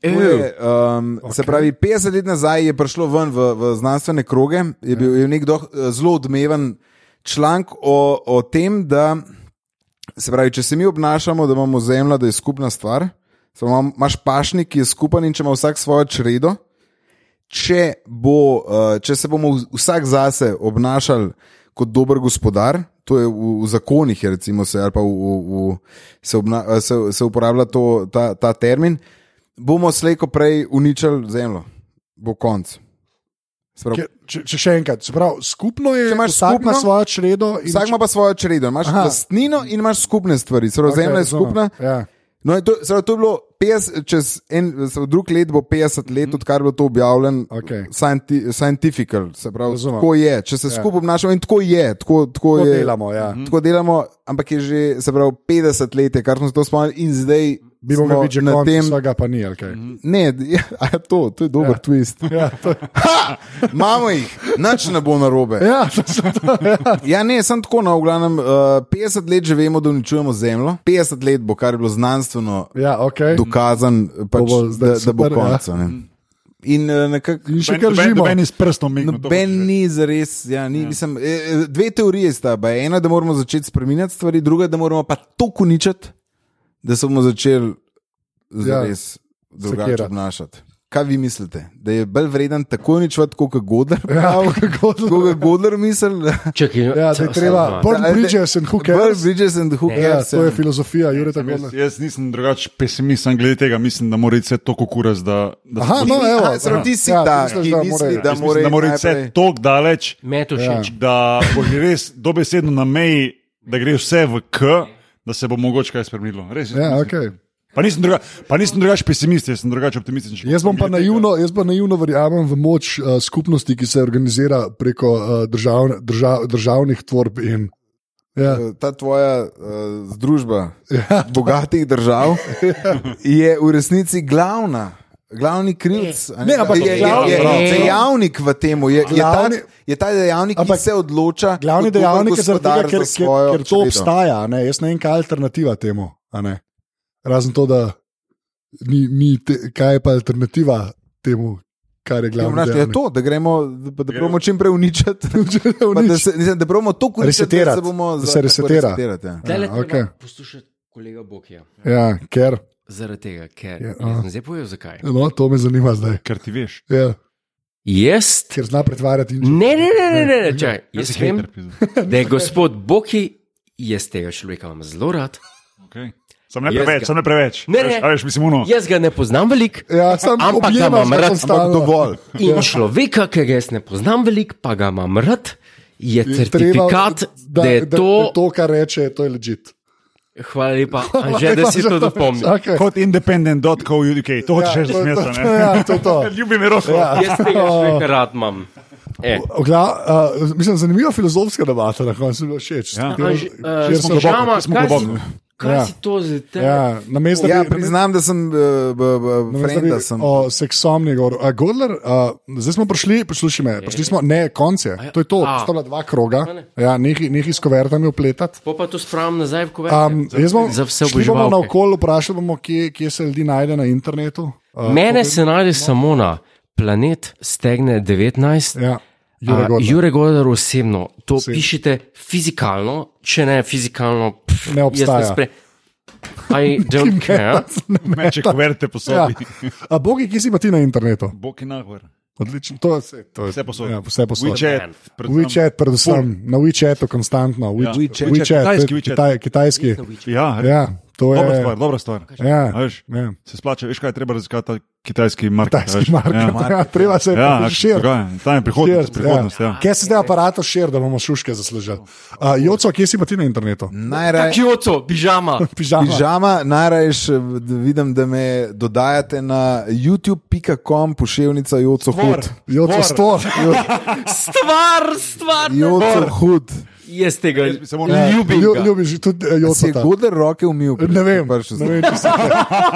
C: To Je, um, okay. Se pravi, 50 let nazaj je prišlo ven v, v znanstvene kroge, je bil
A: Ja.
C: je nek doh, zelo odmeven članek o, o tem, da se pravi, če se mi obnašamo, da imamo zemljo, da je skupna stvar, samo imam- imaš pašnik, ki je skupen in če ima vsak svojo čredo. Če, bo, uh, če se bomo v- vsak zase obnašali kot dober gospodar, to je v, v zakonih, je recimo, se, ali pa v, v, v, se, obna, eh, se, se uporablja to, ta, ta termin, bomo slejko prej uničili zemljo, bo konc. Se pravi,
A: Ker- Če, če še enkrat, se pravi, skupno je,
C: Če imaš
A: vsak ima
C: skupno,
A: svojo čredo in
C: Vsak ima pa svojo čredo, imaš
A: Aha.
C: lastnino in imaš skupne stvari, zelo
A: Ok,
C: okay, zemlja je
A: razumem.
C: skupna.
A: Ja.
C: No, in to, zdaj, to je bilo 50, čez en, zdaj, drug let bo 50 let, odkar je bilo to objavljeno,
A: Mhm. Okej.
C: scienti, scientific, se pravi,
A: Razumem.
C: tako je, če se ja. skupaj obnašamo in tako je. Tako, tako
A: Tako
C: je
A: delamo, ja.
C: Mhm. Tako delamo, ampak je že se pravi, 50 let, je, kar smo se to spomnili, in zdaj
A: Bi
C: smo
A: mogel biti že
C: na tem.
A: vsega pa ni. ali kaj?
C: Ne, ja, a to, to je dober ja. twist.
A: Ja, to,
C: Ha! Imamo jih, nič ne bo narobe.
A: ja, to, so to, ja.
C: Ja, ne, sem tako na oglanem. Uh, 50 let že vemo, da uničujemo zemljo. 50 let bo, kar je bilo znanstveno
A: ja, okay.
C: dokazano, pač,
A: bo zdaj
C: da, da bo
A: super,
C: konec. Ja. In uh, nekako.
A: In še kar živimo.
D: Meni s prstom migne.
C: Noben ni zares. Ja, ni, ja. Mislim, eh, eh, dve teorije sta. ba, Ena, da moramo začeti spremenjati stvari, druga, da moramo pa to uničiti, da se bomo začeli zares ja. drugače
A: Sekirati.
C: obnašati. Kaj vi mislite? Da je bolj vreden tako uničevati, kot je Godler?
A: Ja, kako
C: Kot je Godler misli?
B: Čakaj, no,
A: Ja, da je treba. Burn
C: Da,
A: bridges and who
C: Bolj
A: cares?
C: Bridges and who
A: Ja,
C: cares?
A: to je
C: ja.
A: filozofija, Jure tako.
D: Jaz, jaz nisem drugačen pesimist, samo glede tega mislim, da mora iti vse tako kuras, da, da,
A: Aha,
D: se bo-
A: no, evo.
C: Aha, se pravi, ti si
A: Ja,
C: ta,
A: misliš,
C: ki
A: da
C: misli,
A: morajo.
C: da
D: jaz mislim, da mora iti vse
C: najprej-
D: tako daleč,
B: Meto
A: Ja,
B: všeč.
D: da bo že res dobesedno na meji, da gre vse v K, da se bo mogoče kaj spremenilo. Res, jaz
A: Ja,
D: mislim.
A: okay.
D: Pa nisem druga- pa nisem drugačen pesimist, jaz sem drugačen optimist.
A: Jaz bom pa naivno, jaz pa naivno verjamem v moč uh, skupnosti, ki se organizira preko uh, držav, držav, državnih tvorb. In, ja,
C: Ta tvoja uh, združba ja. bogatih držav je v resnici glavna. Glavni krivc a
A: Ne, ampak
C: je, je,
A: glavni-
C: je, je
B: Prav.
C: dejavnik v tem, je, je, ta,
A: Glavni-
C: je ta dejavnik,
A: Ampak
C: ki se odloča.
A: glavni
C: kot dober
A: dejavnik je zaradi tega,
C: gospodar
A: ker,
C: za
A: ker,
C: svojo
A: ker to
C: čredo.
A: obstaja. Ne? Jaz ne vem, kaj je alternativa temu. a ne. Razen to, da ni, ni te, kaj je pa alternativa temu, kar je
C: Ja,
A: glavno.
C: vnaš, je to, da gremo, da, da probamo čim prej uničiti. Pa Da,
A: Unič,
C: se, mislim, da probamo to uničiti, da
A: Resetirati,
C: se bomo
A: da
C: za-
A: se
C: tako
A: resetira.
C: resetirati, ja.
B: Tele
A: Ja,
B: treba
A: okej.
B: poslušati kolega Bokija.
A: ja, ker.
B: Zaradi tega, ker
A: Ja,
B: ja,
A: aha.
B: sem zdaj povedal, zakaj.
A: No, to me zanima zdaj.
D: Ker ti veš.
A: Ja,
B: Jaz.
A: ker zna pretvarjati in
B: Ne, ne, ne, ne, ne, ne. Čaj,
D: Jaz
B: jaz
D: si
B: vem,
D: hater, pizda.
B: da je gospod Boki, jaz tega človeka imam zelo rad.
D: Okej. Sam ne
B: Jaz
D: preveč,
B: ga-
D: sam ne preveč.
B: Ne,
D: A veš-
B: ne. Ja.
D: A veš, mislim, uno.
B: Jaz ga ne poznam veliko
A: Ja, sam
B: Ampak ga
A: objemaš
B: imam
A: ga
B: rad,
A: konstalno.
C: Ampak dovolj.
B: in človeka, ki ga jaz ne poznam veliko, pa ga imam rad, je certifikat, da, da je to.
A: to, kar reče, to je ležit.
B: Hvala lepa, Anže, da si to dopomnil.
A: Okay.
D: Kot independent.co.uk, to hočeš
A: Ja,
D: reči, da
A: to-
D: sem jaz.
A: to-
D: a ne?
A: ja, to je to.
D: Ljubim Roko. Ja.
B: Jaz tega človeka rad imam. E.
A: Ogla, uh, mislim, zanimiva filozofska debata, na koncu mi je bilo všeč.
D: Ja.
A: Ker-
B: Anže,
A: ker
B: eh,
A: so-
D: globoko,
B: Žama,
D: kje smo
B: kaj si-
D: globoko?
B: Kaj
A: Ja.
B: si to zdaj?
A: ja, namesto,
C: Ja,
A: bi-
C: priznam, da sem
A: namesto,
C: frenda.
A: da bi o seksomni govoril. A, Godler, a, zdaj smo prišli, poslušaj me, prišli smo, ne, konc je, to je to,
B: A.
A: ostala dva kroga,
B: A ne.
A: ja, nekaj s kovertami upletati.
B: Po pa to spravim nazaj v kuverto.
D: Ja,
A: Um, jaz bom
B: za vse
A: šli bomo
B: oboževalke.
A: na okolje, vprašali bomo, kje, kje se ljudi najde na internetu. Uh,
B: Mene se najde samo na planet Stegne 19.
A: Ja, Jure
B: a,
A: Godler.
B: Jure Godar osebno, to
A: Osebno.
B: Oseb. pišite fizikalno, če ne fizikalno, pff, jaz
A: Ne obstaja.
B: I don't care.
D: Meče, kuverte po sobi.
A: Ja. A bogi, kje si pa ti na internetu?
D: Bog in nahvar.
A: Odlično. To je vse. To je,
D: Vse posod.
A: Ja, vse posod.
D: WeChat, predvsem.
A: WeChat, predvsem na WeChatu konstantno. We-
D: Ja.
A: WeChat,
D: WeChat,
A: to je
D: kitajski WeChat.
A: Kitaj, kitajski.
D: Ja, ja.
A: Ja, to je
D: Dobra stvar, dobra stvar.
A: Ja,
D: A veš?
A: ja.
D: Se splača, veš kaj je treba raziskati, ta kitajski market. a veš?
A: Kitajski market.
D: Ja.
A: Ja, treba se
D: Ja,
A: širiti.
D: dogaja. tam je prihodnost. prihodnost ja.
A: Kje se zdaj aparato širi, da bomo šuške zaslužili? Uh, Joco, kje si pa ti na internetu?
C: Najraje.
B: Kyoto, pižama.
A: Pižama.
C: Pižama, najraješ eh, vidim, da me dodajate na youtube.com, pošiljka Joco Hud.
A: Joco stor.
B: Stvar, stvar.
C: Joco Hud.
B: Jaz tega
D: Jaz bi se moral-
B: ne ljubim.
A: Ja. Lju-
B: ga.
A: Ljubiš tudi eh,
C: Si je
A: Jocota.
C: goder roke umil? pri-
A: Ne vem,
C: prišel
A: ne
C: sem.
A: vem, če se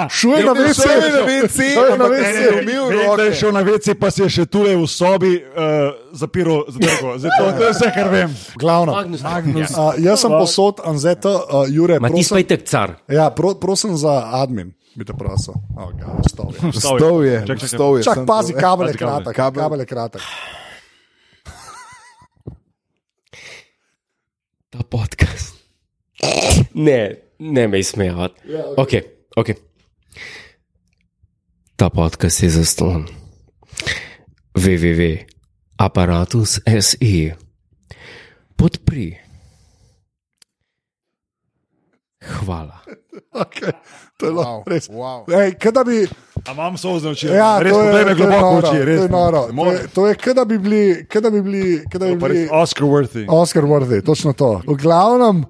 A: šuje na
C: Šel
A: vece.
C: je na WC,
A: Šel je na
C: ampak ne, ne,
A: vece.
C: ne. umil
D: Vem, da je
C: roke.
D: šel na WC, pa si je še tule v sobi uh, zapiral zadrgo. Zdaj, to, to je vse, kar vem.
A: Glavno.
B: Magnus. Ja. Magnus.
A: Uh, jaz sem posod, Anzeta, uh, Jure,
B: Ma ti
A: prosim,
B: spaj tek car.
A: ja, pro, prosim za admin, bi te prosil. Oh, God, vstal je.
C: Stov je,
D: Čak, čak, čak.
C: stov je.
A: Čak,
C: sem
A: pazi,
C: to-
A: kabel je
D: Pazi, kabel.
A: kratek.
C: Kabel.
A: Kabel je kratek.
B: Ta podcast. Ne, ne me izmejavati. Ok, ok. Ta podcast je zaston. www.apparatus.se E. Podpri. Hvala.
A: Okay. To je wow. res.
C: wow.
A: Ej, kaj da bi,
D: A imam solze oči.
A: ja,
D: res
A: to je,
D: poglej
A: to
D: me
A: je
D: globoko v
A: noro,
D: oči. Res,
A: to je noro.
D: ne
A: To
D: morem.
A: je, to je, kaj da bi bili, kaj da bi bili, kaj da bi
D: Pa res
A: bili
D: Oscar worthy.
A: Oscar worthy, točno to. V glavnem, uh,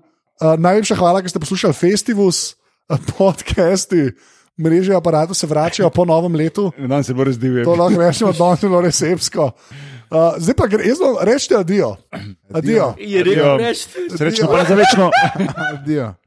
A: najlepša hvala, ker ste poslušali Festivus, uh, podcasti, mreže aparatov se vračajo po novem letu.
D: Dan se bo res divil.
A: To lahko rečemo, da je bilo res epsko. Uh, zdaj pa gre, jaz vam rečem, adijo. Adijo.
B: Je
D: rekel,
B: rekel,
D: Adijo.
B: reči.
D: Srečno, pa za večno.
C: Adijo.